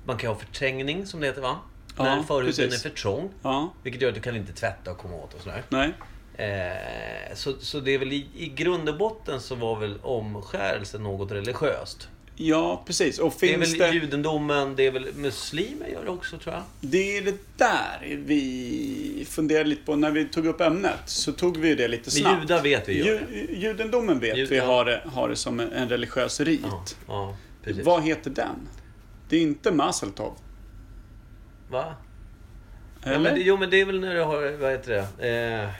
Speaker 2: Man kan ha förträngning, som det heter va?
Speaker 1: Ja,
Speaker 2: När förhuden är
Speaker 1: precis.
Speaker 2: för trång.
Speaker 1: Ja,
Speaker 2: Vilket gör att du kan inte tvätta och komma åt och sådär.
Speaker 1: nej.
Speaker 2: Eh, så, så det är väl i, i grund och botten så var väl omskärelse något religiöst.
Speaker 1: Ja, precis. Och
Speaker 2: Det är
Speaker 1: finns
Speaker 2: väl
Speaker 1: det...
Speaker 2: judendomen, det är väl muslimer gör det också tror jag.
Speaker 1: Det är det där vi funderar lite på. När vi tog upp ämnet så tog vi ju det lite
Speaker 2: Men
Speaker 1: snabbt.
Speaker 2: judar vet vi gör det.
Speaker 1: Ju, judendomen vet
Speaker 2: Jud-
Speaker 1: vi
Speaker 2: ja.
Speaker 1: har det, har det som en, en religiös rit.
Speaker 2: Ja, ja, precis.
Speaker 1: Vad heter den? Det är inte Mazeltov.
Speaker 2: Va? Ja,
Speaker 1: Eller?
Speaker 2: men, det- jo, men det är väl när du har, vad heter det? Eh,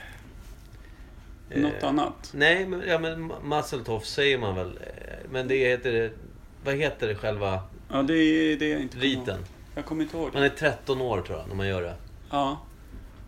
Speaker 2: eh,
Speaker 1: Något annat.
Speaker 2: Nej, men, ja, men Ma- Masseltoff säger man väl. eh, Men det heter, vad heter det själva
Speaker 1: Ja, det är det jag inte kommer ihåg.
Speaker 2: riten?
Speaker 1: Jag kommer inte ihåg det.
Speaker 2: Man är 13 år tror jag, när man gör det.
Speaker 1: Ja,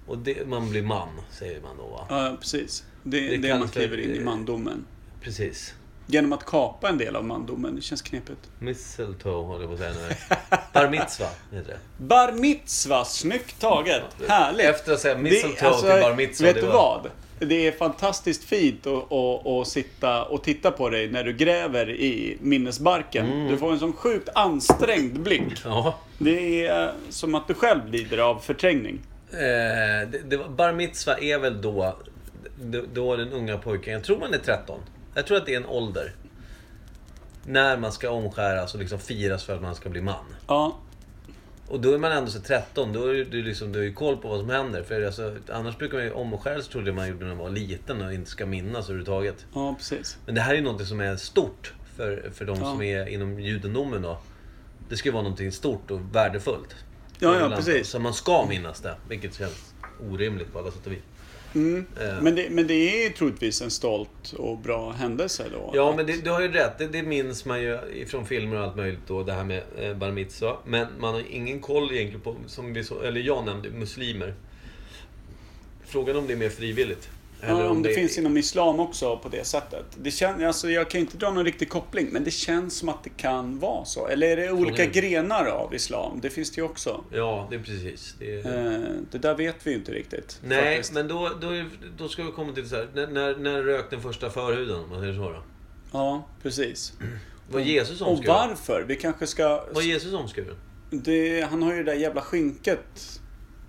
Speaker 2: Och det, man blir man, säger man då va?
Speaker 1: ja precis. Det
Speaker 2: Det
Speaker 1: är det,
Speaker 2: kallas
Speaker 1: man kliver
Speaker 2: för-
Speaker 1: in i mandomen.
Speaker 2: Precis.
Speaker 1: Genom att kapa en del av mandomen. Det känns knepigt.
Speaker 2: Mistletoe håller jag på att säga nu. Bar mitzva heter det.
Speaker 1: Bar mitzva, snyggt taget. Härligt.
Speaker 2: Efter att säga
Speaker 1: Det-
Speaker 2: mistletoe
Speaker 1: alltså,
Speaker 2: till bar mitzva.
Speaker 1: Vet
Speaker 2: det
Speaker 1: du
Speaker 2: var-
Speaker 1: vad? Det är fantastiskt fint att, att, att sitta och titta på dig när du gräver i minnesbarken.
Speaker 2: Mm.
Speaker 1: Du får en sån sjukt ansträngd blick.
Speaker 2: Ja.
Speaker 1: Det är som att du själv lider av förträngning.
Speaker 2: Eh, det, det var, bar mitzva är väl då, då, då den unga pojken, jag tror man är 13. Jag tror att det är en ålder. När man ska omskäras och liksom firas för att man ska bli man.
Speaker 1: Ja,
Speaker 2: Och då är man ändå så 13, då är du- du liksom, du har ju koll på vad som händer. För alltså, annars brukar man ju omskäras trodde man gjorde när man var liten och inte ska minnas överhuvudtaget.
Speaker 1: ja precis.
Speaker 2: Men det här är ju något som är stort för, för de
Speaker 1: Ja.
Speaker 2: som är inom judendomen då. Det ska ju vara någonting stort och värdefullt.
Speaker 1: Ja, ja, precis.
Speaker 2: Så man ska minnas det, vilket känns orimligt på alla sätt och vis. Eh,
Speaker 1: Men det, men det är troligtvis en stolt och bra händelse då.
Speaker 2: Ja,
Speaker 1: Att-
Speaker 2: men det, du har ju rätt. Det, det minns man ju från filmer och allt möjligt då, det här med eh, bar mitzva. Men man har ingen koll egentligen på, som vi så, eller jag nämnde, muslimer. Frågan om det är mer frivilligt. Eller
Speaker 1: Ja, om det, finns inom islam också på det sättet. Det kän, alltså, jag kan ju inte dra någon riktig koppling, men det känns som att det kan vara så. Eller är det olika
Speaker 2: Troligen.
Speaker 1: grenar av islam? Det finns det ju också.
Speaker 2: Ja, det är precis. Det är...
Speaker 1: Eh, Det där vet vi ju inte riktigt.
Speaker 2: Nej,
Speaker 1: faktiskt.
Speaker 2: men då, då, är, då ska vi komma till så här. När, när, när rök den första förhuden, om man säger så då?
Speaker 1: Ja, precis.
Speaker 2: Var Jesus
Speaker 1: Mm. Och
Speaker 2: omskuren?
Speaker 1: varför? Vi kanske ska...
Speaker 2: Var Jesus omskuren?
Speaker 1: Det, han har ju det där jävla skynket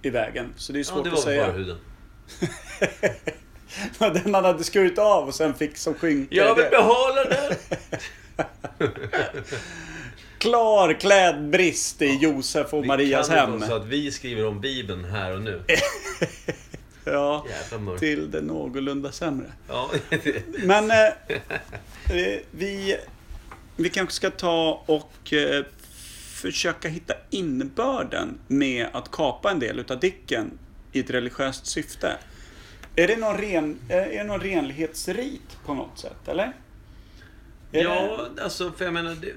Speaker 1: i vägen, så det är
Speaker 2: Ja,
Speaker 1: svårt
Speaker 2: det
Speaker 1: att
Speaker 2: var väl
Speaker 1: säga.
Speaker 2: förhuden.
Speaker 1: Den han hade skurit av och sen fick som skynke.
Speaker 2: Jag vill
Speaker 1: Det-
Speaker 2: behålla den!
Speaker 1: Klar klädbrist i Josef och
Speaker 2: Vi
Speaker 1: Marias
Speaker 2: kan inte
Speaker 1: hem.
Speaker 2: vara Så att vi skriver om Bibeln här och nu.
Speaker 1: Ja,
Speaker 2: Jävla mörkt.
Speaker 1: till det någorlunda sämre.
Speaker 2: Ja,
Speaker 1: Men eh, eh, vi, vi kanske ska ta och eh, försöka hitta innebörden med att kapa en del utav dicken i ett religiöst syfte. Är det någon, ren, eh, är det någon renlighetsrit på något sätt, eller? Är
Speaker 2: ja alltså för jag menar... Det...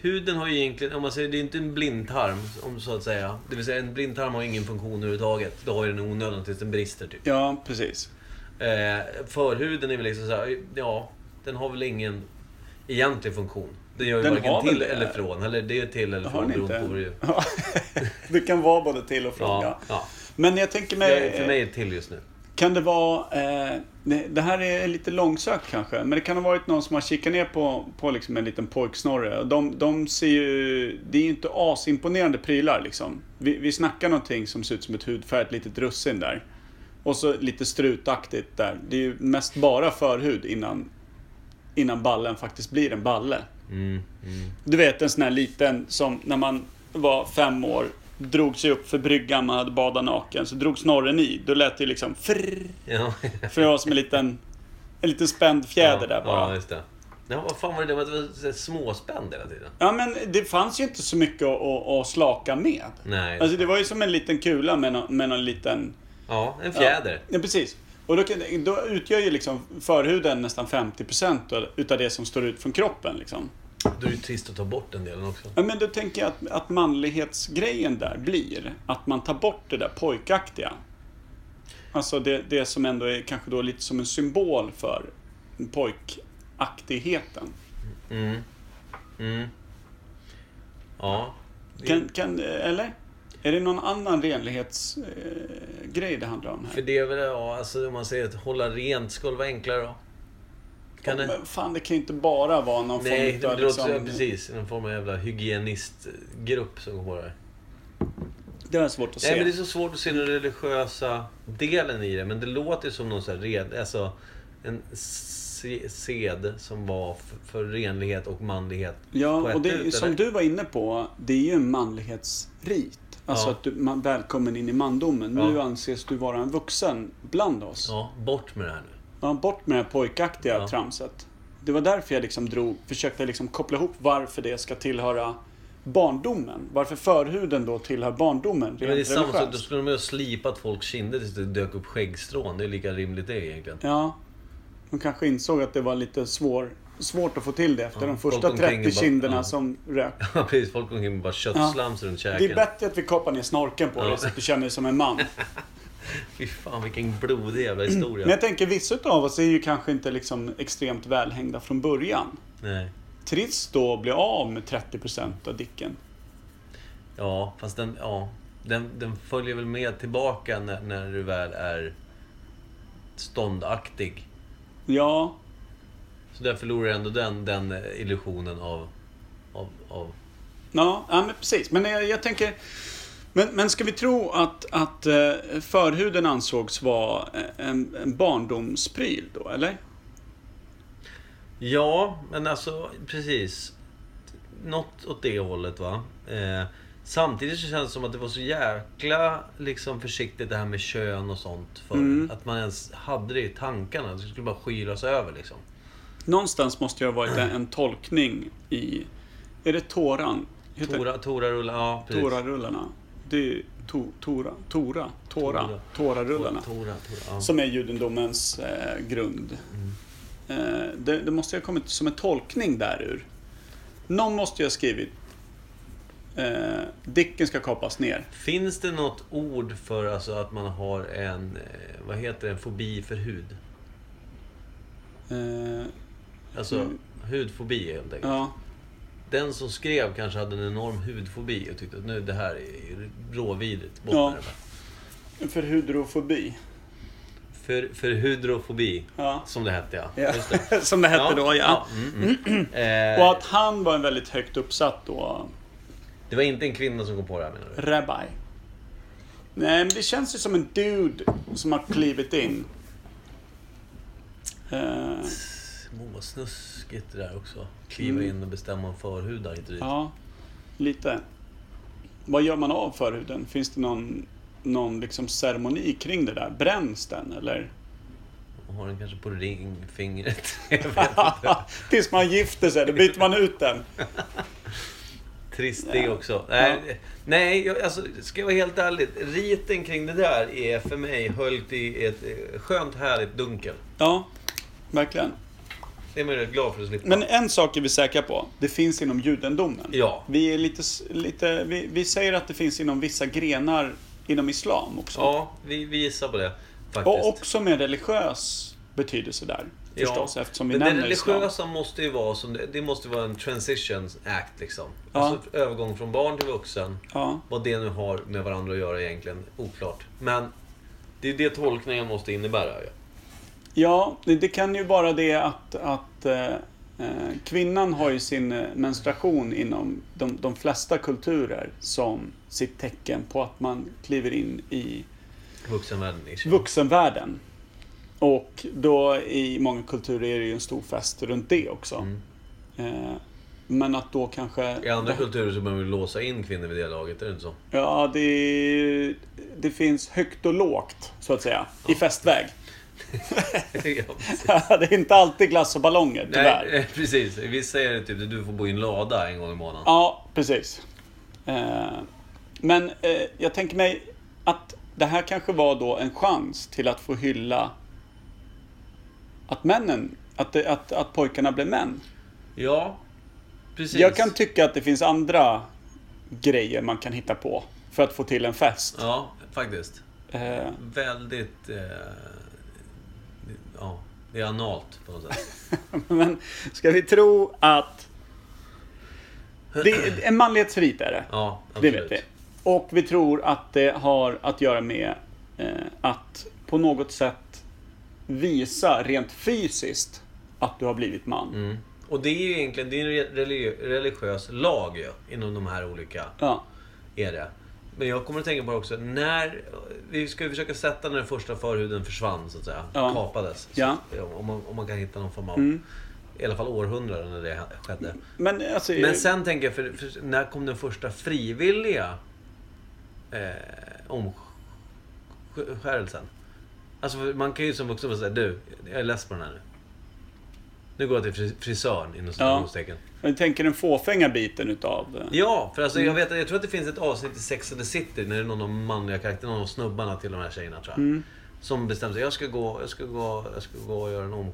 Speaker 2: Huden har ju egentligen, om man säger det är inte en blindtarm, om så att säga. Det vill säga en blindtarm har ingen funktion överhuvudtaget. Då har ju den onödan tills den brister typ.
Speaker 1: Det, ja, precis.
Speaker 2: Eh, förhuden är väl liksom så här, ja, den har väl ingen egentlig funktion. Den gör ju
Speaker 1: Den har
Speaker 2: varken
Speaker 1: väl
Speaker 2: till
Speaker 1: det.
Speaker 2: eller från. Eller det är till eller
Speaker 1: Det har
Speaker 2: från
Speaker 1: ni
Speaker 2: beroende på vad det
Speaker 1: inte.
Speaker 2: är.
Speaker 1: Ja, det kan vara både till och från.
Speaker 2: Ja,
Speaker 1: Ja.
Speaker 2: ja.
Speaker 1: Men jag tänker mig... eh,
Speaker 2: Det är, för mig är det till just nu.
Speaker 1: Kan det vara, eh, det- det här är lite långsökt kanske, men det kan ha varit någon som har kikat ner på, på liksom en liten pojksnorre. De, de ser ju, det är ju inte asimponerande prylar liksom. Vi, vi snackar någonting som ser ut som ett hudfärgat litet russin där. Och så lite strutaktigt där. Det är ju mest bara förhud innan, innan ballen faktiskt blir en balle.
Speaker 2: Mm, mm.
Speaker 1: Du vet en sån här liten som när man var fem år drog sig upp för bryggan, man hade badat naken, så drog snorren i. Då lät det ju liksom frrrr.
Speaker 2: Ja.
Speaker 1: För det var som en liten, en liten spänd fjäder
Speaker 2: ja,
Speaker 1: där
Speaker 2: Ja,
Speaker 1: bara.
Speaker 2: just det. Ja, vad fan var det där med att det var så här småspänd hela tiden?
Speaker 1: Ja men det fanns ju inte så mycket att, att, att slaka med.
Speaker 2: Mm. Nej.
Speaker 1: Alltså det var ju som en liten kula med någon, med någon liten...
Speaker 2: Ja, en
Speaker 1: ja.
Speaker 2: fjäder.
Speaker 1: Ja, precis. Och då, kan- då utgör ju liksom förhuden nästan 50% av- utav det som står ut från kroppen liksom.
Speaker 2: Då är det ju trist att ta bort den delen också.
Speaker 1: Ja, men då tänker jag att, att manlighetsgrejen där blir att man tar bort det där pojkaktiga. Alltså det, det som ändå är kanske då lite som en symbol för pojkaktigheten.
Speaker 2: Mm. Mm. Ja. Det-
Speaker 1: Kan, kan, eller? Är det någon annan renlighetsgrej det handlar om
Speaker 2: För
Speaker 1: här?
Speaker 2: det är väl, ja, alltså om man säger att hålla rent skulle vara enklare då. Kan det?
Speaker 1: Men fan, det kan ju inte bara vara någon
Speaker 2: Nej, det
Speaker 1: form av... liksom-
Speaker 2: låter ja, precis. Någon form av jävla hygienistgrupp som går på det här.
Speaker 1: Det är svårt att se.
Speaker 2: Nej, men det är så svårt att se den religiösa delen i det. Men det låter ju som någon sån här red... Alltså, en s- se- sed som var f- för renlighet och manlighet. på
Speaker 1: Ja,
Speaker 2: ett
Speaker 1: och det,
Speaker 2: ut,
Speaker 1: som
Speaker 2: eller?
Speaker 1: du var inne på, det är ju en manlighetsrit. Alltså
Speaker 2: Ja.
Speaker 1: att du, man, välkommen in i mandomen. Nu
Speaker 2: Ja.
Speaker 1: anses du vara en vuxen bland oss. Ja.
Speaker 2: Ja, bort med det här nu.
Speaker 1: bort med det här pojkaktiga
Speaker 2: Ja.
Speaker 1: tramset. Det var därför jag liksom drog, försökte liksom koppla ihop varför det ska tillhöra barndomen. Varför förhuden då tillhör barndomen
Speaker 2: Men det är
Speaker 1: rent
Speaker 2: samma sak, då
Speaker 1: religiöst.
Speaker 2: skulle de ju ha slipat folks kinder tills det dök upp skäggstrån. Det är lika rimligt det egentligen.
Speaker 1: Ja, de kanske insåg att det var lite svår, svårt att få till det efter
Speaker 2: Ja,
Speaker 1: de
Speaker 2: folk
Speaker 1: första
Speaker 2: omkring
Speaker 1: 30
Speaker 2: bara-
Speaker 1: kinderna
Speaker 2: ja.
Speaker 1: som rök.
Speaker 2: Ja, precis. Folk går omkring med bara köttslams runt
Speaker 1: Det
Speaker 2: käken.
Speaker 1: är bättre att vi koppar ner snorken på
Speaker 2: Ja.
Speaker 1: dig så att du känner dig som en man.
Speaker 2: Fy fan vilken blodig jävla
Speaker 1: Men
Speaker 2: historia.
Speaker 1: jag tänker, vissa av oss är ju kanske inte liksom extremt välhängda från början.
Speaker 2: Nej.
Speaker 1: Trist då att bli av med 30% av dicken.
Speaker 2: Ja, fast den, ja, den, den följer väl med tillbaka när, när du väl är ståndaktig.
Speaker 1: Ja,
Speaker 2: Så där förlorar ändå den, den eh, illusionen av... av, av
Speaker 1: ja, ja men precis. Men jag, jag tänker... Men, men ska vi tro att, att eh, förhuden ansågs vara en, en barndomspryl då, eller?
Speaker 2: ja, men alltså precis. Något åt det hållet va. Eh, samtidigt så känns det som att det var så jäkla liksom, försiktigt det här med kön och sånt förr.
Speaker 1: Mm.
Speaker 2: Att man ens hade det i tankarna. Det skulle bara skylas över liksom.
Speaker 1: Någonstans måste det ha varit en, en tolkning i... Är det Toran? Heter
Speaker 2: Tora, tora rulla, ja precis.
Speaker 1: Torarullarna? Det är ju to, Tora, Tora, Tora,
Speaker 2: Tora.
Speaker 1: Torarullarna.
Speaker 2: Tora, tora, ja.
Speaker 1: Som är judendomens eh, grund.
Speaker 2: Mm.
Speaker 1: Eh, det, det måste ju ha kommit som en tolkning därur. Någon måste ju ha skrivit eh, Dicken ska kapas ner.
Speaker 2: Finns det något ord för alltså att man har en, eh, vad heter det, en fobi för hud?
Speaker 1: Eh,
Speaker 2: Alltså
Speaker 1: Mm.
Speaker 2: hudfobi helt enkelt.
Speaker 1: ja.
Speaker 2: Den som skrev kanske hade en enorm hudfobi och tyckte att nu det här är råvidrigt. Bort
Speaker 1: Ja.
Speaker 2: med det bara.
Speaker 1: För hydrofobi.
Speaker 2: För, för hydrofobi,
Speaker 1: Ja.
Speaker 2: som det hette ja.
Speaker 1: Ja.
Speaker 2: Just det.
Speaker 1: Som det hette då, ja.
Speaker 2: mm, mm. Eh,
Speaker 1: Och att han var en väldigt högt uppsatt då,
Speaker 2: Det var inte en kvinna som kom på det här menar du?
Speaker 1: rabbi. Nej, men det känns ju som en dude som har klivit in. Eh,
Speaker 2: Åh, vad snuskigt det där också. Kliva
Speaker 1: Mm.
Speaker 2: in och bestämma om förhudar hit och dit.
Speaker 1: Ja, lite. Vad gör man av förhuden? Finns det någon, någon liksom ceremoni kring det där? Bränns den eller?
Speaker 2: Och har den kanske på ringfingret. Jag vet inte.
Speaker 1: Tills man gifter sig, då byter man ut den.
Speaker 2: Trist det
Speaker 1: Ja.
Speaker 2: också. Nej, nej jag, alltså, ska jag vara helt ärlig. Riten kring det där är för mig höljt i ett eh, skönt härligt dunkel.
Speaker 1: Ja, verkligen.
Speaker 2: Det är man ju rätt glad för att slippa.
Speaker 1: Men en sak är vi säkra på. Det finns inom judendomen.
Speaker 2: Ja.
Speaker 1: Vi, är lite, s- lite, vi, vi säger att det finns inom vissa grenar inom islam också.
Speaker 2: Ja, vi, vi gissar på det faktiskt.
Speaker 1: Och också med religiös betydelse där.
Speaker 2: Ja.
Speaker 1: Förstås, eftersom vi
Speaker 2: Men
Speaker 1: nämner
Speaker 2: det
Speaker 1: islam.
Speaker 2: religiösa måste ju vara som det, det måste vara en transition act liksom.
Speaker 1: Ja.
Speaker 2: Alltså övergång från barn till vuxen.
Speaker 1: Ja.
Speaker 2: Vad det nu har med varandra att göra egentligen, oklart. Men det är det tolkningen måste innebära. Ja.
Speaker 1: Ja, det, det kan ju vara det att, att eh, eh, kvinnan har ju sin eh, menstruation inom de, de flesta kulturer som sitt tecken på att man kliver in i
Speaker 2: Vuxenvärlden. i sig.
Speaker 1: vuxenvärlden. Och då i många kulturer är det ju en stor fest runt det också.
Speaker 2: Mm.
Speaker 1: Eh, men att då kanske...
Speaker 2: I andra kulturer så behöver vi låsa in kvinnor vid det laget, är det inte så?
Speaker 1: Ja, det, det finns högt och lågt, så att säga, i festväg.
Speaker 2: ja, precis.
Speaker 1: det är inte alltid glass och ballonger, tyvärr.
Speaker 2: Nej, eh, precis. Vissa är det typ att du får bo i en lada en gång i månaden.
Speaker 1: Ja, precis. Eh, men eh, jag tänker mig att det här kanske var då en chans till att få hylla att männen, att, det, att, att pojkarna blev män.
Speaker 2: Ja, precis.
Speaker 1: Jag kan tycka att det finns andra grejer man kan hitta på för att få till en fest.
Speaker 2: Ja, faktiskt.
Speaker 1: Eh,
Speaker 2: Väldigt... Eh... Ja, det är analt på något sätt.
Speaker 1: men ska vi tro att... Det, en manlighetsrit är det.
Speaker 2: Ja,
Speaker 1: Det vet
Speaker 2: absolut.
Speaker 1: vi. Och vi tror att det har att göra med eh, att på något sätt visa rent fysiskt att du har blivit man.
Speaker 2: Mm. Och det är ju egentligen det är en re- religi- religiös lag ju, inom de här olika...
Speaker 1: Ja.
Speaker 2: Är det. Men jag kommer att tänka på det också. När, vi ska ju försöka sätta när den första förhuden försvann, så att säga.
Speaker 1: Ja.
Speaker 2: Kapades.
Speaker 1: Ja.
Speaker 2: Om, man, om man kan hitta någon form av...
Speaker 1: Mm.
Speaker 2: I alla fall århundraden när det skedde.
Speaker 1: Men alltså...
Speaker 2: Men sen tänker jag, för, för när kom den första frivilliga eh, omskärelsen? Alltså för man kan ju som vuxen bara säga, du, jag är less på den här nu. Nu går jag till fris- frisören, inom citationstecken.
Speaker 1: Jag tänker den fåfänga biten utav... eh,
Speaker 2: Ja, för alltså jag vet jag tror att det finns ett avsnitt i Sex and the City när det är någon av de manliga karaktärerna, någon av snubbarna till de här tjejerna tror jag.
Speaker 1: Mm.
Speaker 2: Som bestämmer sig, jag ska gå, jag ska gå, jag ska gå och göra en om...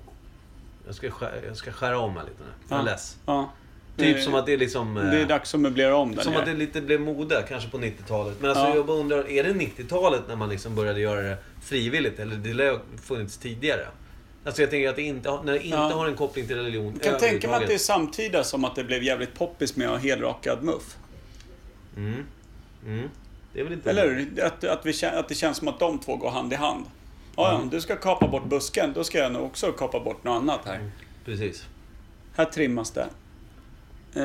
Speaker 2: Jag ska, skä- jag ska skära om mig lite nu. Jag är
Speaker 1: Ja.
Speaker 2: less.
Speaker 1: Ja.
Speaker 2: Typ
Speaker 1: Det-
Speaker 2: som att det är liksom... eh,
Speaker 1: Det är dags att möblera om den.
Speaker 2: Som
Speaker 1: ja.
Speaker 2: att det lite blev mode, kanske på 90-talet. Men alltså
Speaker 1: Ja.
Speaker 2: jag bara undrar, är det 90-talet när man liksom började göra det frivilligt? Eller det lär ju ha funnits tidigare. Alltså jag tänker att det inte, har- när det inte
Speaker 1: Ja.
Speaker 2: har en koppling till religion
Speaker 1: Jag kan tänka mig att det är
Speaker 2: överhuvudtaget.
Speaker 1: samtida som att det blev jävligt poppis med att ha helrakad muff.
Speaker 2: Mm. Mm. Det är väl inte...
Speaker 1: Eller hur? Att, att, vi, kä- att det känns som att de två går hand i hand. Ja, ja, du ska kapa bort busken, då ska jag nog också kapa bort något annat här.
Speaker 2: Mm. Precis.
Speaker 1: Här trimmas det. Eh,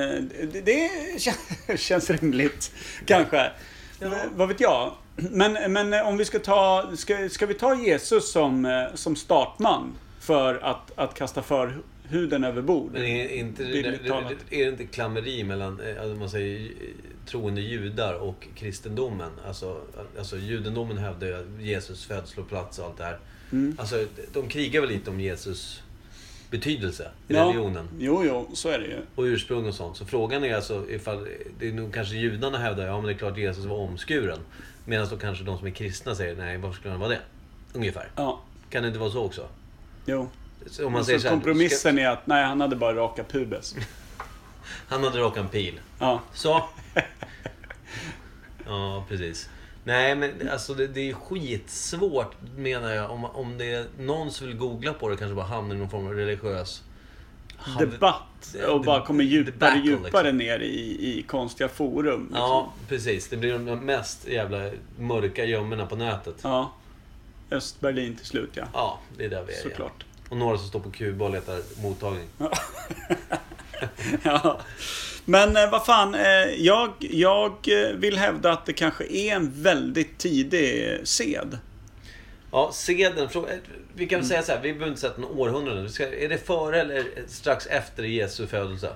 Speaker 1: Det, det kän- känns rimligt, kanske.
Speaker 2: Ja.
Speaker 1: Eh, Vad vet jag? Men, men eh, om vi ska ta... Ska, ska vi ta Jesus som, eh, som startman för att, att kasta för huden över bord?
Speaker 2: Men är, inte,
Speaker 1: Bildligt talat.
Speaker 2: är det inte klammeri mellan, eh, alltså man säger, eh, troende judar och kristendomen? Alltså, alltså judendomen hävdar ju att Jesus födsloplats och allt det här.
Speaker 1: Mm.
Speaker 2: Alltså, de krigar väl lite om Jesus betydelse i
Speaker 1: Ja.
Speaker 2: religionen?
Speaker 1: Jo, jo, så är det ju.
Speaker 2: Och ursprung och sånt. Så frågan är alltså ifall... Det är nog kanske judarna hävdar, ja men det är klart Jesus var omskuren. Medan då kanske de som är kristna säger, nej varför skulle han vara det? Ungefär.
Speaker 1: Ja,
Speaker 2: Kan det inte vara så också?
Speaker 1: jo.
Speaker 2: Så Om man
Speaker 1: så
Speaker 2: säger så här,
Speaker 1: kompromissen är att nej, han hade bara raka pubes.
Speaker 2: ska- Han hade rakat en pil.
Speaker 1: Ja.
Speaker 2: Så. Ja, precis. Nej, men alltså det, det är skitsvårt menar jag. Om, om det är någon som vill googla på det kanske bara hamnar i någon form av religiös...
Speaker 1: Debatt och bara kommer djupare
Speaker 2: Debacle, liksom.
Speaker 1: djupare ner i, i konstiga forum. liksom.
Speaker 2: Ja, precis. Det blir de mest jävla mörka gömmorna på nätet.
Speaker 1: ja. Östberlin till slut, ja.
Speaker 2: Ja, det är där vi är igen.
Speaker 1: Såklart.
Speaker 2: Och några som står på Kuba och letar mottagning.
Speaker 1: Ja. Men eh, vad fan, eh, jag, jag eh, vill hävda att det kanske är en väldigt tidig eh, sed.
Speaker 2: Ja, seden. Fråga, vi kan väl säga så här, vi behöver inte sätta någon århundrade. Vi ska- Är det före eller strax efter Jesu födelse?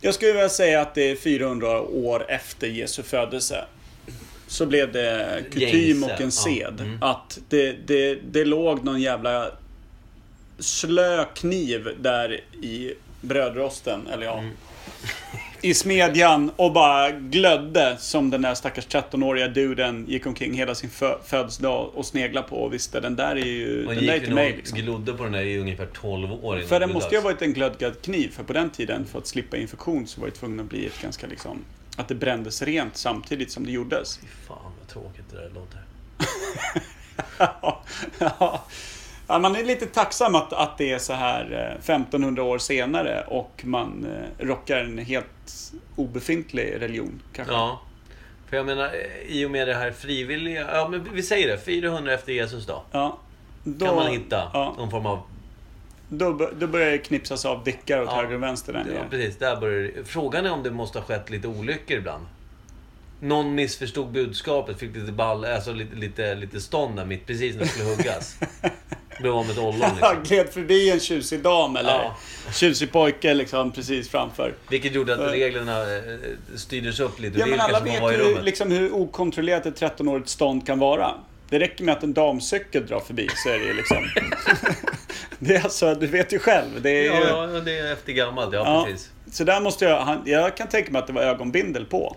Speaker 1: Jag skulle vilja säga att det är 400 år efter Jesu födelse. Så blev det kutym
Speaker 2: Gängse,
Speaker 1: och
Speaker 2: ja.
Speaker 1: en sed.
Speaker 2: Mm.
Speaker 1: Att det, det, det låg någon jävla slö kniv där i brödrosten, eller
Speaker 2: Mm.
Speaker 1: ja. I smedjan och bara glödde som den där stackars 13-åriga duden gick omkring hela sin fö- födelsedag och sneglade på och visste den där är ju,
Speaker 2: Man
Speaker 1: den där är
Speaker 2: gick
Speaker 1: till
Speaker 2: ju
Speaker 1: mig
Speaker 2: och
Speaker 1: liksom.
Speaker 2: glodde på den där i ungefär 12 år. innan
Speaker 1: För
Speaker 2: det
Speaker 1: det
Speaker 2: blev
Speaker 1: måste ju ha
Speaker 2: dags.
Speaker 1: varit en glödgad kniv, för på den tiden för att slippa infektion så var det tvungen att bli ett ganska liksom... Att det brändes rent samtidigt som det gjordes.
Speaker 2: Fy Fan vad tråkigt det där låter.
Speaker 1: ja, Ja, man är lite tacksam att, att det är så här eh, 1500 år senare och man eh, rockar en helt obefintlig religion kanske.
Speaker 2: Ja. För jag menar, eh, i och med det här frivilliga... Ja, men vi säger det. 400 efter Jesus då.
Speaker 1: Ja, då,
Speaker 2: Kan man hitta
Speaker 1: Ja,
Speaker 2: någon form av...
Speaker 1: då, bör- då börjar det knipsas av dickar åt
Speaker 2: Ja.
Speaker 1: höger och vänster där
Speaker 2: Ja,
Speaker 1: nere.
Speaker 2: precis. Där börjar det- Frågan är om det måste ha skett lite olyckor ibland. Någon missförstod budskapet, fick lite ball, alltså lite, lite, lite stånd där mitt precis när det skulle huggas. Blev av med ett ollon liksom.
Speaker 1: Gled förbi en tjusig dam eller
Speaker 2: Ja.
Speaker 1: tjusig pojke liksom precis framför.
Speaker 2: Vilket gjorde att reglerna eh, styrdes upp lite.
Speaker 1: Ja,
Speaker 2: Det
Speaker 1: men
Speaker 2: är
Speaker 1: alla
Speaker 2: kanske man var
Speaker 1: vet
Speaker 2: i
Speaker 1: ju
Speaker 2: rummet.
Speaker 1: liksom hur okontrollerat ett 13-årigt stånd kan vara. Det räcker med att en damcykel drar förbi så är det ju liksom... det är alltså, du vet ju själv. Det är ju...
Speaker 2: Ja, ja, det är efter gammalt. Ja,
Speaker 1: Ja.
Speaker 2: precis.
Speaker 1: Så där måste jag... Han, jag kan tänka mig att det var ögonbindel på.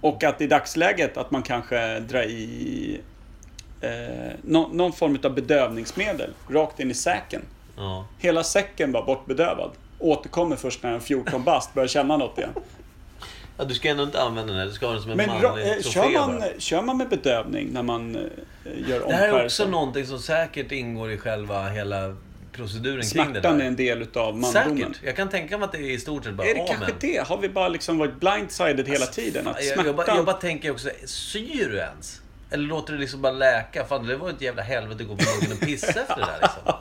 Speaker 1: Och att i dagsläget att man kanske drar i eh, nå- någon form av bedövningsmedel rakt in i säcken.
Speaker 2: Ja.
Speaker 1: Hela säcken var bortbedövad. Återkommer först när en 14 bast börjar känna något igen.
Speaker 2: ja, du ska ändå inte använda den här. Du ska ha den som en
Speaker 1: Men
Speaker 2: manlig
Speaker 1: ra- eh,
Speaker 2: trofé
Speaker 1: kör, man,
Speaker 2: bara.
Speaker 1: kör man med bedövning när man eh, gör
Speaker 2: Det här är också
Speaker 1: omskärelsen?
Speaker 2: någonting som säkert ingår i själva hela proceduren kring det
Speaker 1: Smärtan
Speaker 2: där.
Speaker 1: är en del utav mandomen.
Speaker 2: Säkert. Jag kan tänka mig att det är i stort sett bara
Speaker 1: Är det
Speaker 2: amen.
Speaker 1: kanske det? Har vi bara liksom varit blindsided hela tiden? Att
Speaker 2: Alltså, Jag, jag, bara,
Speaker 1: smärtan...
Speaker 2: jag bara tänker också, syr du ens? Eller låter du liksom bara läka? Fan, det var ju ett jävla helvete att gå på muggen och pissa efter det där liksom.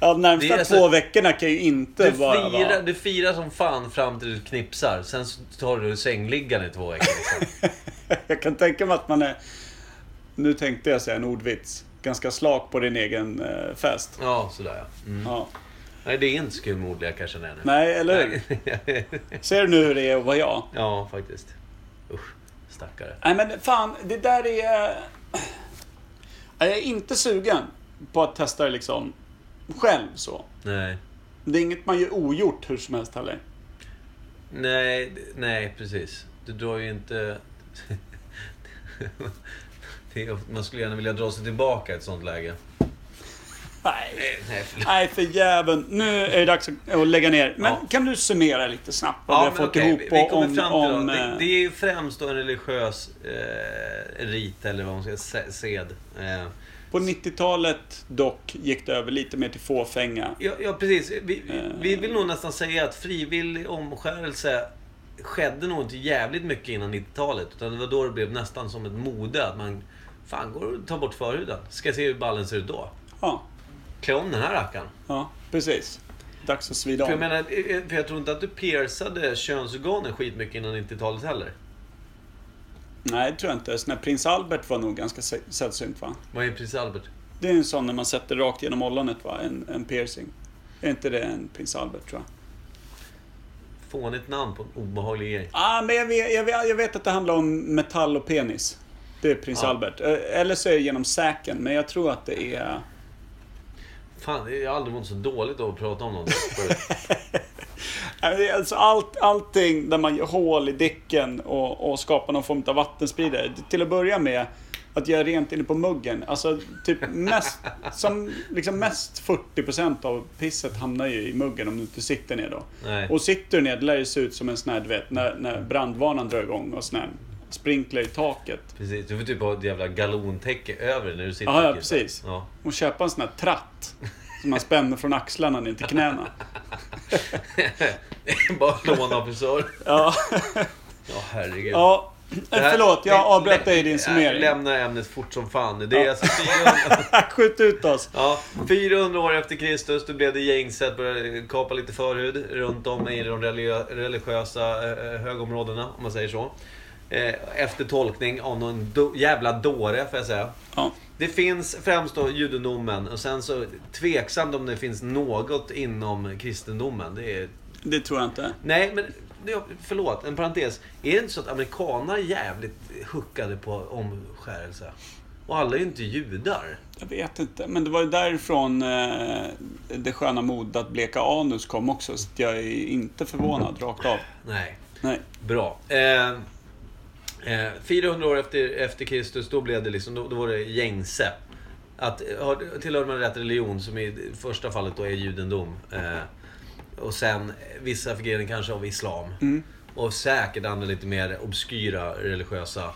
Speaker 1: Ja, de
Speaker 2: Det
Speaker 1: närmsta
Speaker 2: är alltså-
Speaker 1: två veckorna kan ju inte
Speaker 2: Du
Speaker 1: vara...
Speaker 2: firar, du firar som fan fram till du knipsar. Sen så tar du sängliggaren i två veckor liksom.
Speaker 1: jag kan tänka mig att man är, nu tänkte jag säga en ordvits, ganska slak på din egen eh, fest.
Speaker 2: Ja, sådär ja. Mm.
Speaker 1: Ja.
Speaker 2: Nej, det är inte så kul med ordlekar känner jag nu.
Speaker 1: Nej, eller hur? Ser du nu hur det är att vara jag?
Speaker 2: ja, faktiskt. Usch, stackare.
Speaker 1: Nej men fan, det där är... Jag är inte sugen på att testa det liksom själv så.
Speaker 2: Nej.
Speaker 1: Det är inget man gör ogjort hur som helst heller.
Speaker 2: Nej, d- nej precis. Du drar ju inte... Det är ofta- Man skulle gärna vilja dra sig tillbaka i ett sånt läge.
Speaker 1: Nej.
Speaker 2: Nej, förlåt.
Speaker 1: Nej för jäveln. Nu är det dags att- att lägga ner. Men
Speaker 2: Ja.
Speaker 1: kan du summera lite snabbt vad vi har
Speaker 2: men
Speaker 1: fått
Speaker 2: okej,
Speaker 1: ihop
Speaker 2: vi, vi
Speaker 1: och
Speaker 2: kommer
Speaker 1: om...
Speaker 2: fram till
Speaker 1: om
Speaker 2: då. det,
Speaker 1: eh,
Speaker 2: det är ju främst då en religiös eh, rit, eller vad man ska säga, sed. Eh,
Speaker 1: På 90-talet dock gick det över lite mer till fåfänga.
Speaker 2: ja, ja, precis. Vi, vi vill nog nästan säga att frivillig omskärelse skedde nog inte jävligt mycket innan 90-talet. Utan det var då det blev nästan som ett mode att man... Fan, går och tar bort förhuden. Ska se hur ballen ser ut då.
Speaker 1: Ja,
Speaker 2: Klä om den här rackaren.
Speaker 1: ja precis. Dags att svida
Speaker 2: För jag
Speaker 1: om.
Speaker 2: menar, eh, för jag tror inte att du piercade könsorganen skitmycket innan 90-talet heller.
Speaker 1: Nej, det tror jag inte. Så när prins Albert var nog ganska sä- sällsynt va?
Speaker 2: Vad är prins Albert?
Speaker 1: Det är en sån när man sätter rakt genom ollonet va, en, en piercing. Är inte det en prins Albert tror jag?
Speaker 2: Fånigt namn på en obehaglig grej.
Speaker 1: Ah, men jag vet, jag, vet, jag vet att det handlar om metall och penis. Det är prins
Speaker 2: Ja.
Speaker 1: Albert. Eh, Eller så är det genom säken, men jag tror att det är...
Speaker 2: Fan, jag har aldrig mått så dåligt av att prata om någonting. förut.
Speaker 1: Nej, men det är Alltså allt, allting där man gör hål i däcken och, och skapar någon form av vattenspridare. Till att börja med, att göra rent inne på muggen. Alltså typ mest, som, liksom mest 40% av pisset hamnar ju i muggen om du inte sitter ner då.
Speaker 2: Nej.
Speaker 1: Och sitter du ner, det lär ju se ut som en sån här, du vet, när, när brandvarnaren drar igång och sån här sprinkler i taket.
Speaker 2: Precis, du får typ ha ett jävla galontäcke över när du sitter
Speaker 1: Ja, ja,
Speaker 2: och kissar.
Speaker 1: precis.
Speaker 2: Ja.
Speaker 1: Och köpa en sån här tratt som man spänner från axlarna ner till knäna.
Speaker 2: Bara låna av frisör.
Speaker 1: Ja,
Speaker 2: Ja, herregud.
Speaker 1: ja.
Speaker 2: Det här-
Speaker 1: förlåt, jag
Speaker 2: det-
Speaker 1: avbröt dig i
Speaker 2: lä-
Speaker 1: din summering.
Speaker 2: Lämna ämnet fort som fan. Det är alltså 400,
Speaker 1: Skjut ut oss.
Speaker 2: ja, 400 år efter Kristus, då blev det gängse att börja kapa lite förhud runt om i de relio- religiösa eh, högområdena, om man säger så. Eh, Efter tolkning av någon do- jävla dåre, får jag säga.
Speaker 1: Ja.
Speaker 2: Det finns främst då judendomen och sen så tveksamt om det finns något inom kristendomen. Det är...
Speaker 1: Det tror jag inte.
Speaker 2: Nej, men ja, förlåt, en parentes. Är det inte så att amerikaner är jävligt huckade på omskärelse? Och alla är ju inte judar.
Speaker 1: Jag vet inte, men det var ju därifrån eh, det sköna modet att bleka anus kom också. Så att jag är inte förvånad rakt av.
Speaker 2: Nej,
Speaker 1: Nej.
Speaker 2: bra. Eh, eh, 400 år efter, efter Kristus, då blev det liksom, då, då var det gängse. Att eh, har- tillhör man rätt religion, som i första fallet då är judendom. Eh, och sen eh, vissa förgreningar kanske av islam. Och säkert andra lite mer obskyra religiösa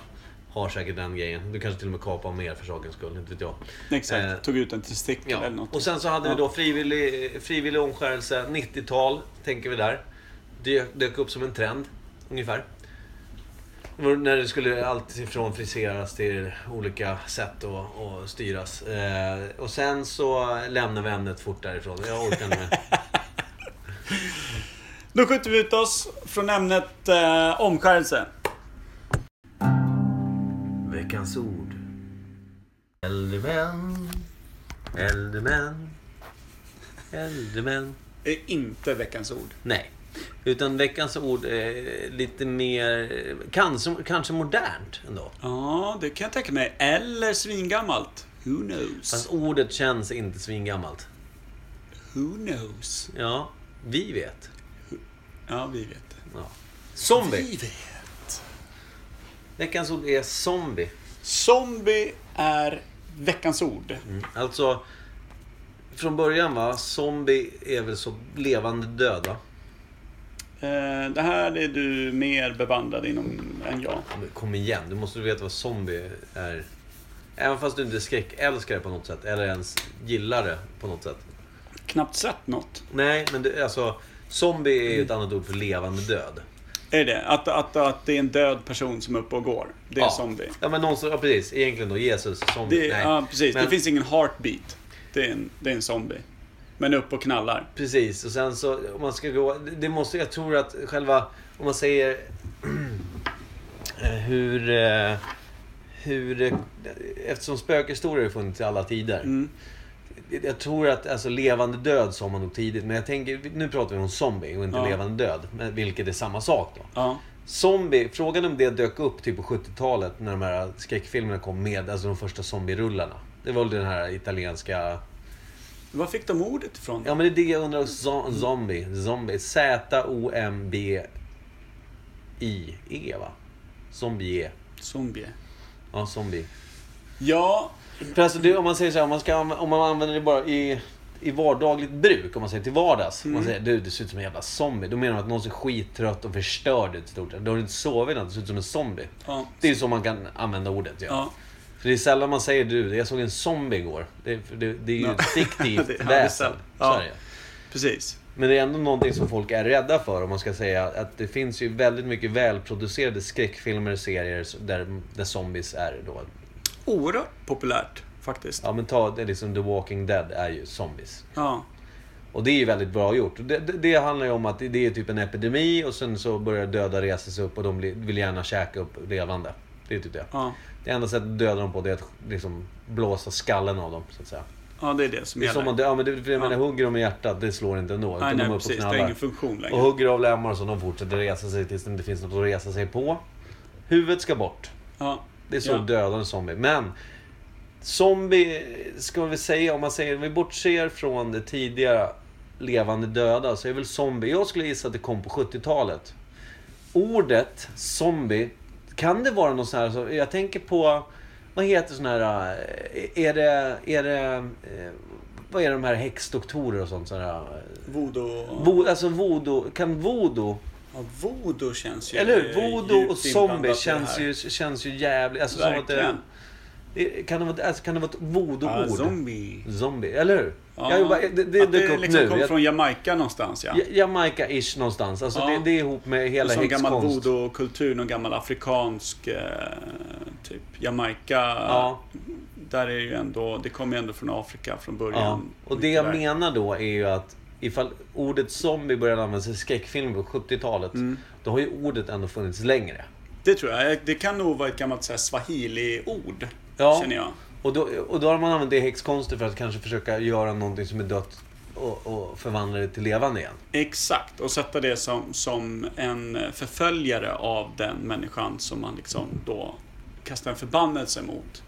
Speaker 2: har säkert den grejen. Du kanske till och med kapar mer för sakens skull, inte vet jag.
Speaker 1: Exakt,
Speaker 2: Eh,
Speaker 1: tog ut en testikel
Speaker 2: Ja.
Speaker 1: eller något.
Speaker 2: Och sen så hade vi då frivillig, frivillig omskärelse, 90-tal, tänker vi där. Det dök upp som en trend, ungefär. Det var När det skulle allt ifrån friseras till olika sätt att, att styras. Eh, och sen så lämnar vi ämnet fort därifrån. Jag orkar inte mer.
Speaker 1: Då skjuter vi ut oss från ämnet eh, omskärelse.
Speaker 2: Veckans ord. Äldre män. Äldre män. Äldre män.
Speaker 1: Det är inte veckans ord.
Speaker 2: Nej. Utan veckans ord är lite mer, kanske, kanske modernt ändå.
Speaker 1: Ja, det kan jag tänka mig. Eller svingammalt. Who knows?
Speaker 2: Fast ordet känns inte svingammalt.
Speaker 1: Who knows?
Speaker 2: Ja, vi vet.
Speaker 1: Ja, vi vet det.
Speaker 2: Ja. Zombie.
Speaker 1: Vi vet.
Speaker 2: Veckans ord är zombie.
Speaker 1: Zombie är veckans ord.
Speaker 2: Alltså, från början va, zombie är väl så levande döda.
Speaker 1: Eh, det här är du mer bevandrad inom än jag.
Speaker 2: Men kom igen, du måste veta vad zombie är. Även fast du inte skräckälskar det på något sätt, eller ens gillar det på något sätt.
Speaker 1: Knappt sett något.
Speaker 2: Nej, men du, alltså, zombie är ju ett annat ord för levande död.
Speaker 1: Är det Att, att, att det är en död person som är uppe och går. Det är zombie.
Speaker 2: Ja, men någon som, ja, precis. Egentligen då Jesus, zombie.
Speaker 1: Det,
Speaker 2: Nej.
Speaker 1: är- ja, precis.
Speaker 2: Men,
Speaker 1: Det finns ingen heartbeat. Det är en, det är en zombie. Men upp och knallar.
Speaker 2: Precis, och sen så om man ska gå... Det måste, jag tror att själva... Om man säger... eh, hur... eh, hur eh, eftersom spökhistorier har funnits i alla tider.
Speaker 1: Mm.
Speaker 2: Jag jag tror att alltså, levande död sa man nog tidigt. Men jag tänker, nu pratar vi om zombie och inte
Speaker 1: Ja.
Speaker 2: levande död. Men vilket är samma sak då.
Speaker 1: Ja.
Speaker 2: Zombie, frågan om det dök upp typ på 70-talet när de här skräckfilmerna kom med, alltså de första zombierullarna. Det var väl den här italienska...
Speaker 1: Var fick de ordet ifrån?
Speaker 2: Ja men det är det jag undrar, zo- zombie, zombie. Z-O-M-B-I-E E, va? Zombie. E.
Speaker 1: Zombie.
Speaker 2: Ja, zombie.
Speaker 1: Ja,
Speaker 2: För alltså det, om man säger så här, om man, ska, anv- om man använder det bara i, i vardagligt bruk, om man säger till vardags. Om man säger du, det ser ut som en jävla zombie. Då menar man att någon ser skittrött och förstörd ut i stort sett. Då har du inte sovit natt, du ser ut som en zombie.
Speaker 1: ja,
Speaker 2: Det är så man kan använda ordet. Ja.
Speaker 1: ja.
Speaker 2: För det är sällan man säger du, jag såg en zombie igår. Det, för det, det är ju
Speaker 1: Ja.
Speaker 2: ett fiktivt
Speaker 1: Det- ja, det är
Speaker 2: väsen.
Speaker 1: sällan.
Speaker 2: Så
Speaker 1: Ja.
Speaker 2: är det ju.
Speaker 1: precis.
Speaker 2: Men det är ändå någonting som folk är rädda för om man ska säga att det finns ju väldigt mycket välproducerade skräckfilmer och serier där, där zombies är då.
Speaker 1: Oerhört populärt faktiskt.
Speaker 2: Ja men ta det är liksom The Walking Dead är ju zombies.
Speaker 1: Ja,
Speaker 2: Och det är ju väldigt bra gjort. Och Det, det, det handlar ju om att det, det är typ en epidemi och sen så börjar döda resa sig upp och de blir- vill gärna käka upp levande. Det är typ det.
Speaker 1: ja.
Speaker 2: Det enda sättet att döda dem på det är att liksom blåsa skallen av dem så att säga.
Speaker 1: ja det är det som
Speaker 2: Det är
Speaker 1: gäller.
Speaker 2: som man, ja, men det, för jag
Speaker 1: Ja.
Speaker 2: menar, hugger de i hjärtat, det slår inte ändå.
Speaker 1: nej,
Speaker 2: Utan de
Speaker 1: nej,
Speaker 2: är uppe och
Speaker 1: precis. Det har ingen
Speaker 2: knallar.
Speaker 1: funktion
Speaker 2: Och
Speaker 1: längre.
Speaker 2: hugger av lemmar som de fortsätter resa sig tills det inte finns något att resa sig på. Huvudet ska bort.
Speaker 1: Ja,
Speaker 2: Det är så
Speaker 1: Ja.
Speaker 2: dödar en zombie. Men zombie, ska man väl säga, om man säger, om vi bortser från det tidigare levande döda, så är väl zombie, jag skulle gissa att det kom på 70-talet. Ordet zombie, kan det vara någon sån här, så- jag tänker på, vad heter sån här, eh, är det, är det, eh, vad är de här häxdoktorer och sånt sådana här? eh,
Speaker 1: voodoo...
Speaker 2: Vo, alltså voodoo, kan voodoo
Speaker 1: Ja, voodoo känns ju...
Speaker 2: eller hur? Voodoo och
Speaker 1: djupt inblandat i
Speaker 2: zombie
Speaker 1: det
Speaker 2: känns
Speaker 1: här.
Speaker 2: ju, känns ju jävligt... Alltså, som att det,
Speaker 1: Verkligen.
Speaker 2: det, kan, det vara, ett- alltså, kan det vara ett voodoo-ord?
Speaker 1: Ja, zombie.
Speaker 2: Zombie, eller hur?
Speaker 1: Ja,
Speaker 2: jag jobbar, det det
Speaker 1: att
Speaker 2: dök
Speaker 1: det
Speaker 2: upp
Speaker 1: liksom
Speaker 2: nu.
Speaker 1: kom
Speaker 2: Jag-
Speaker 1: från Jamaica någonstans, ja.
Speaker 2: Ja, Jamaica-ish någonstans. Alltså
Speaker 1: Ja.
Speaker 2: det, det är ihop med hela
Speaker 1: Som gammal
Speaker 2: häxkonst.
Speaker 1: voodoo-kultur, någon gammal afrikansk eh, typ Jamaica.
Speaker 2: Ja,
Speaker 1: Där är ju ändå, det kommer ju ändå från Afrika från
Speaker 2: ja.
Speaker 1: början.
Speaker 2: Och det jag
Speaker 1: Där.
Speaker 2: menar då är ju att ifall ordet zombie började användas i skräckfilmer på 70-talet,
Speaker 1: Mm.
Speaker 2: då har ju ordet ändå funnits längre.
Speaker 1: Det tror jag. Eh, Det kan nog vara ett gammalt så här swahili-ord.
Speaker 2: Ja.
Speaker 1: Känner jag.
Speaker 2: Och då, och då har man använt det i häxkonster för att kanske försöka göra någonting som är dött och, och förvandla det till levande igen.
Speaker 1: Exakt. Och sätta det som, som en förföljare av den människan som man liksom då kastar en förbannelse mot.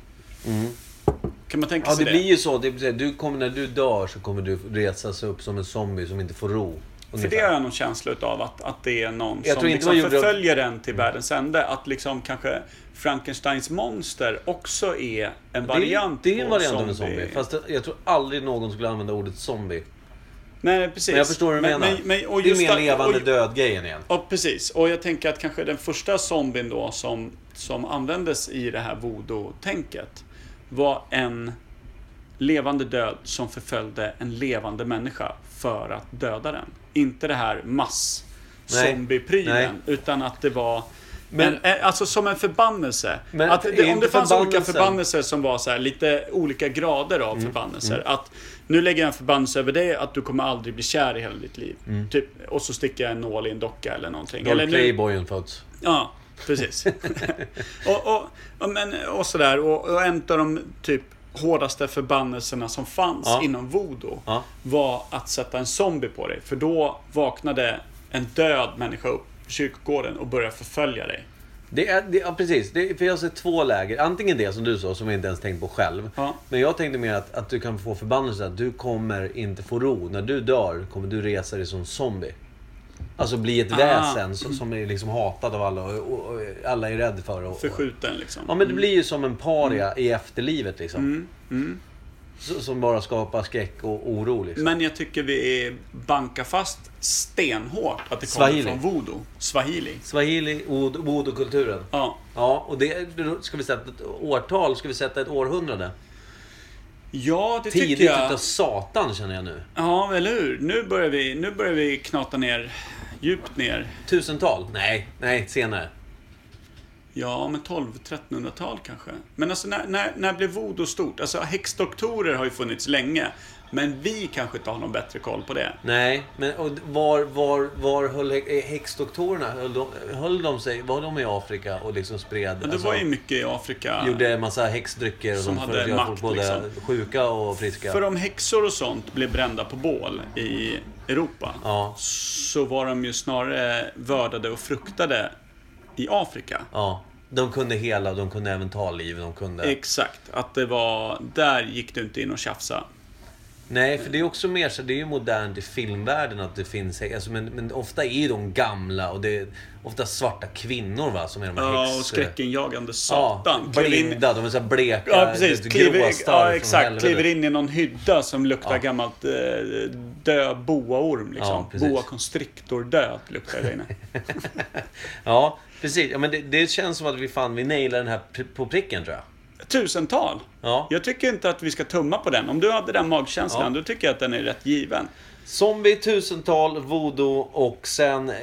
Speaker 1: Kan man tänka
Speaker 2: Mm. Ja,
Speaker 1: sig
Speaker 2: det
Speaker 1: det?
Speaker 2: blir ju så. Det blir, du kommer, när du dör så kommer du resa sig upp som en zombie som inte får ro.
Speaker 1: För
Speaker 2: ungefär.
Speaker 1: det har jag någon känsla utav att, att det är någon
Speaker 2: Jag
Speaker 1: som
Speaker 2: tror inte
Speaker 1: liksom
Speaker 2: man gjorde- Mm.
Speaker 1: förföljer en till världens ände. Att liksom kanske Frankensteins monster också är en variant
Speaker 2: det är, det är en
Speaker 1: på
Speaker 2: variant av en zombie. Fast det, jag tror aldrig någon skulle använda ordet zombie.
Speaker 1: Nej, precis.
Speaker 2: Men jag förstår vad du menar.
Speaker 1: Men, men, och
Speaker 2: det är
Speaker 1: just
Speaker 2: mer
Speaker 1: att-
Speaker 2: levande
Speaker 1: och,
Speaker 2: död-grejen igen.
Speaker 1: Ja, precis. Och jag tänker att kanske den första zombien då som, som användes i det här voodoo-tänket var en levande död som förföljde en levande människa för att döda den. Inte det här mass
Speaker 2: Nej. Nej.
Speaker 1: zombieprylen utan att det var
Speaker 2: Men-
Speaker 1: men, alltså som en förbannelse.
Speaker 2: Men
Speaker 1: att
Speaker 2: är
Speaker 1: det, om
Speaker 2: inte
Speaker 1: det fanns olika
Speaker 2: förbannelsen-
Speaker 1: förbannelser som var så här, lite olika grader av
Speaker 2: Mm.
Speaker 1: förbannelser. Att nu lägger jag en förbannelse över dig att du kommer aldrig bli kär i hela ditt liv.
Speaker 2: Mm.
Speaker 1: Typ, och så sticker jag en nål i en docka eller någonting.
Speaker 2: Då
Speaker 1: Eller
Speaker 2: har
Speaker 1: nu,
Speaker 2: playboyen fötts.
Speaker 1: ja, precis. och, och, och, men, och sådär. Och, och en av de typ hårdaste förbannelserna som fanns
Speaker 2: Ja.
Speaker 1: inom voodoo
Speaker 2: Ja.
Speaker 1: var att sätta en zombie på dig. För då vaknade en död människa upp på kyrkogården och började förfölja dig.
Speaker 2: Det är, det, ja, precis. Det, för jag ser två läger. Antingen det som du sa, som jag inte ens tänkt på själv.
Speaker 1: Ja.
Speaker 2: Men jag tänkte mer att, att du kan få förbannelsen att du kommer inte få ro. När du dör kommer du resa dig som zombie. Alltså bli ett
Speaker 1: Ah.
Speaker 2: väsen som, som är liksom hatad av alla och, och, och alla är rädd för. Och, och,
Speaker 1: Förskjuten liksom.
Speaker 2: ja men det blir ju som en paria
Speaker 1: Mm.
Speaker 2: i efterlivet liksom. Så, som bara skapar skräck och oro liksom.
Speaker 1: Men jag tycker vi är- bankar fast stenhårt att det
Speaker 2: Swahili.
Speaker 1: kommer från voodoo. Swahili.
Speaker 2: Swahili, od- voodoo-kulturen.
Speaker 1: Ja.
Speaker 2: Ja, och det ska vi sätta ett årtal, ska vi sätta ett århundrade?
Speaker 1: Ja, det
Speaker 2: Tidigt
Speaker 1: tycker jag.
Speaker 2: utav satan känner jag nu.
Speaker 1: Ja, eller hur? Nu börjar vi, nu börjar vi knata ner, djupt ner.
Speaker 2: Tusental? Nej, nej, senare.
Speaker 1: Ja, men 12-1300-tal kanske. Men alltså när, när, när blev voodoo stort? Alltså häxdoktorer har ju funnits länge. Men vi kanske inte har någon bättre koll på det.
Speaker 2: Nej, men och var, var, var höll hä- häxdoktorerna, höll de, höll de sig, var de i Afrika och liksom spred?
Speaker 1: Men det
Speaker 2: alltså,
Speaker 1: var ju mycket i Afrika.
Speaker 2: Gjorde en massa häxdrycker och
Speaker 1: Som
Speaker 2: sånt för
Speaker 1: hade
Speaker 2: att göra
Speaker 1: makt,
Speaker 2: folk både
Speaker 1: liksom.
Speaker 2: sjuka och friska.
Speaker 1: För om häxor och sånt blev brända på bål i Europa
Speaker 2: Ja.
Speaker 1: så var de ju snarare vördade och fruktade i Afrika.
Speaker 2: Ja. De kunde hela, de kunde även ta liv, de kunde...
Speaker 1: Exakt, att det var... Där gick du inte in och tjafsa.
Speaker 2: Nej, för det är också mer så, det är ju modernt i filmvärlden att det finns hä- alltså, men, men ofta är de gamla och det är ofta svarta kvinnor va, som är de här
Speaker 1: Ja,
Speaker 2: häx-
Speaker 1: och skräckinjagande
Speaker 2: Ja,
Speaker 1: satan. Klev in-
Speaker 2: blinda, de är så här bleka,
Speaker 1: Ja, precis.
Speaker 2: lite
Speaker 1: Kliver,
Speaker 2: gråstarr
Speaker 1: ja,
Speaker 2: från
Speaker 1: exakt.
Speaker 2: helvete.
Speaker 1: Kliver in i någon hydda som luktar
Speaker 2: Ja.
Speaker 1: gammalt eh, död boaorm. Liksom.
Speaker 2: Ja, precis.
Speaker 1: Boa constrictor död luktar det inne.
Speaker 2: Ja, precis. Ja, men det, det känns som att vi fan, vi nailar den här pri- på pricken tror jag.
Speaker 1: Tusental.
Speaker 2: Ja.
Speaker 1: Jag tycker inte att vi ska tumma på den. Om du hade den magkänslan,
Speaker 2: Ja.
Speaker 1: då tycker jag att den är rätt given.
Speaker 2: Zombie, tusental, voodoo och sen eh,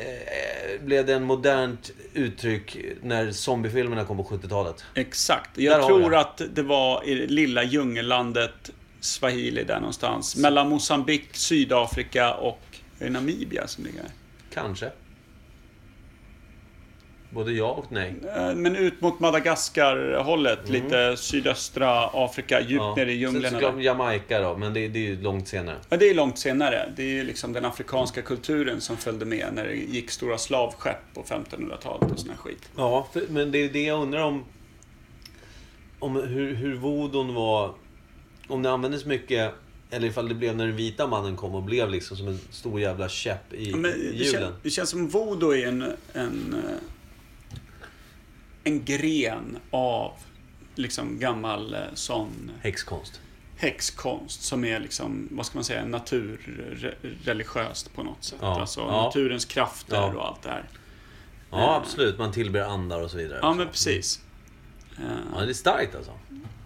Speaker 2: blev det en modernt uttryck när zombiefilmerna kom på 70-talet.
Speaker 1: Exakt.
Speaker 2: Där
Speaker 1: Jag
Speaker 2: har vi
Speaker 1: tror
Speaker 2: den.
Speaker 1: att det var i det lilla djungellandet Swahili där någonstans. Mellan Mosambik, Sydafrika och är det Namibia som ligger här.
Speaker 2: Kanske. Både ja och nej.
Speaker 1: Eh, Men ut mot Madagaskar-hållet, lite sydöstra Afrika, djupt
Speaker 2: Mm. Ja.
Speaker 1: nere i
Speaker 2: Sen
Speaker 1: djunglerna.
Speaker 2: såklart
Speaker 1: där.
Speaker 2: Jamaica då, men det, det är ju långt senare.
Speaker 1: Ja, det är långt senare. Det är ju liksom den afrikanska kulturen som följde med när det gick stora slavskepp på 1500-talet och sån här skit.
Speaker 2: Ja, för, men det är det jag undrar om. Om hur, hur vodon var. Om det användes mycket. Eller ifall det blev när den vita mannen kom och blev liksom som en stor jävla käpp i
Speaker 1: Ja, Men det, kän,
Speaker 2: hjulen.
Speaker 1: det känns som voodoo är en, en, eh, en gren av liksom gammal eh, sån
Speaker 2: Häxkonst.
Speaker 1: häxkonst som är liksom, vad ska man säga, naturreligiöst på något sätt.
Speaker 2: Ja.
Speaker 1: Alltså
Speaker 2: Ja.
Speaker 1: naturens krafter
Speaker 2: Ja.
Speaker 1: och allt det här.
Speaker 2: Ja, absolut. Man tillber andar och så vidare.
Speaker 1: Eh. Ja, men precis. Eh,
Speaker 2: Ja, det är starkt alltså.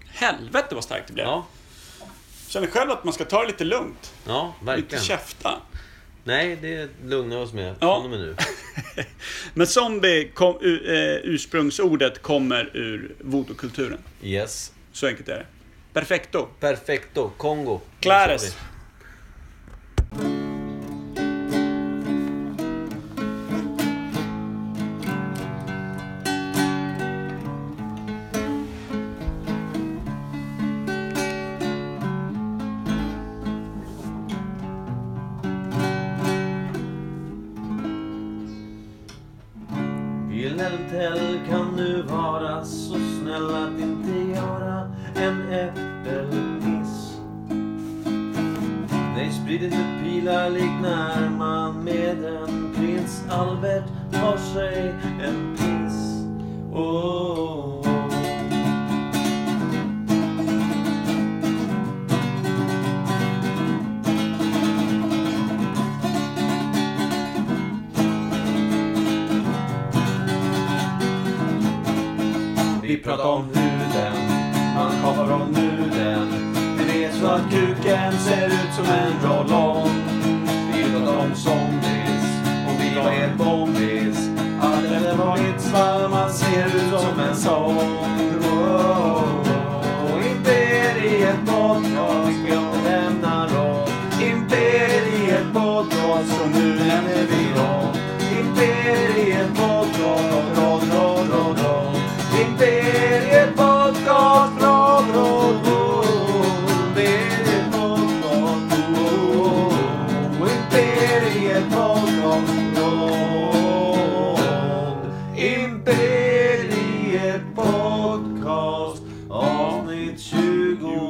Speaker 1: Helvete vad starkt det blev.
Speaker 2: Ja,
Speaker 1: Känner själv att man ska ta det lite lugnt.
Speaker 2: ja
Speaker 1: Lite
Speaker 2: verkligen.
Speaker 1: käfta.
Speaker 2: Nej, det lugnar oss med.
Speaker 1: Ja.
Speaker 2: Ja. Med nu.
Speaker 1: Men zombie, kom, u- eh, ursprungsordet kommer ur voodoo-kulturen.
Speaker 2: Yes.
Speaker 1: Så enkelt är det. Perfecto.
Speaker 2: Perfecto. Kongo. Där
Speaker 1: Clares.
Speaker 2: sa vi. Vill Tell kan du vara så snäll att inte göra en äppelkiss Nej, sprid inte pilar lik när man med en prins Albert tar sig en piss. Oh, oh, oh. Vi pratar om huden, han kapar om nuden. Men det är så att kuken ser ut som en roll-on. Vi pratar om zombies, och vi var helt bombis. Hade det varit svall, man ser ut som en zombie. Oh, oh, oh. Imperiet podcast, vi inte lämnar oss. Imperiet podcast, och nu nämner vi oss. Imperiet podcast, roll, roll, roll, roll. Imperiet podcast, roll, roll, roll. Imperiet podcast, oh, oh, oh. Imperiet podcast, roll. Imperiet podcast, avsnitt 23.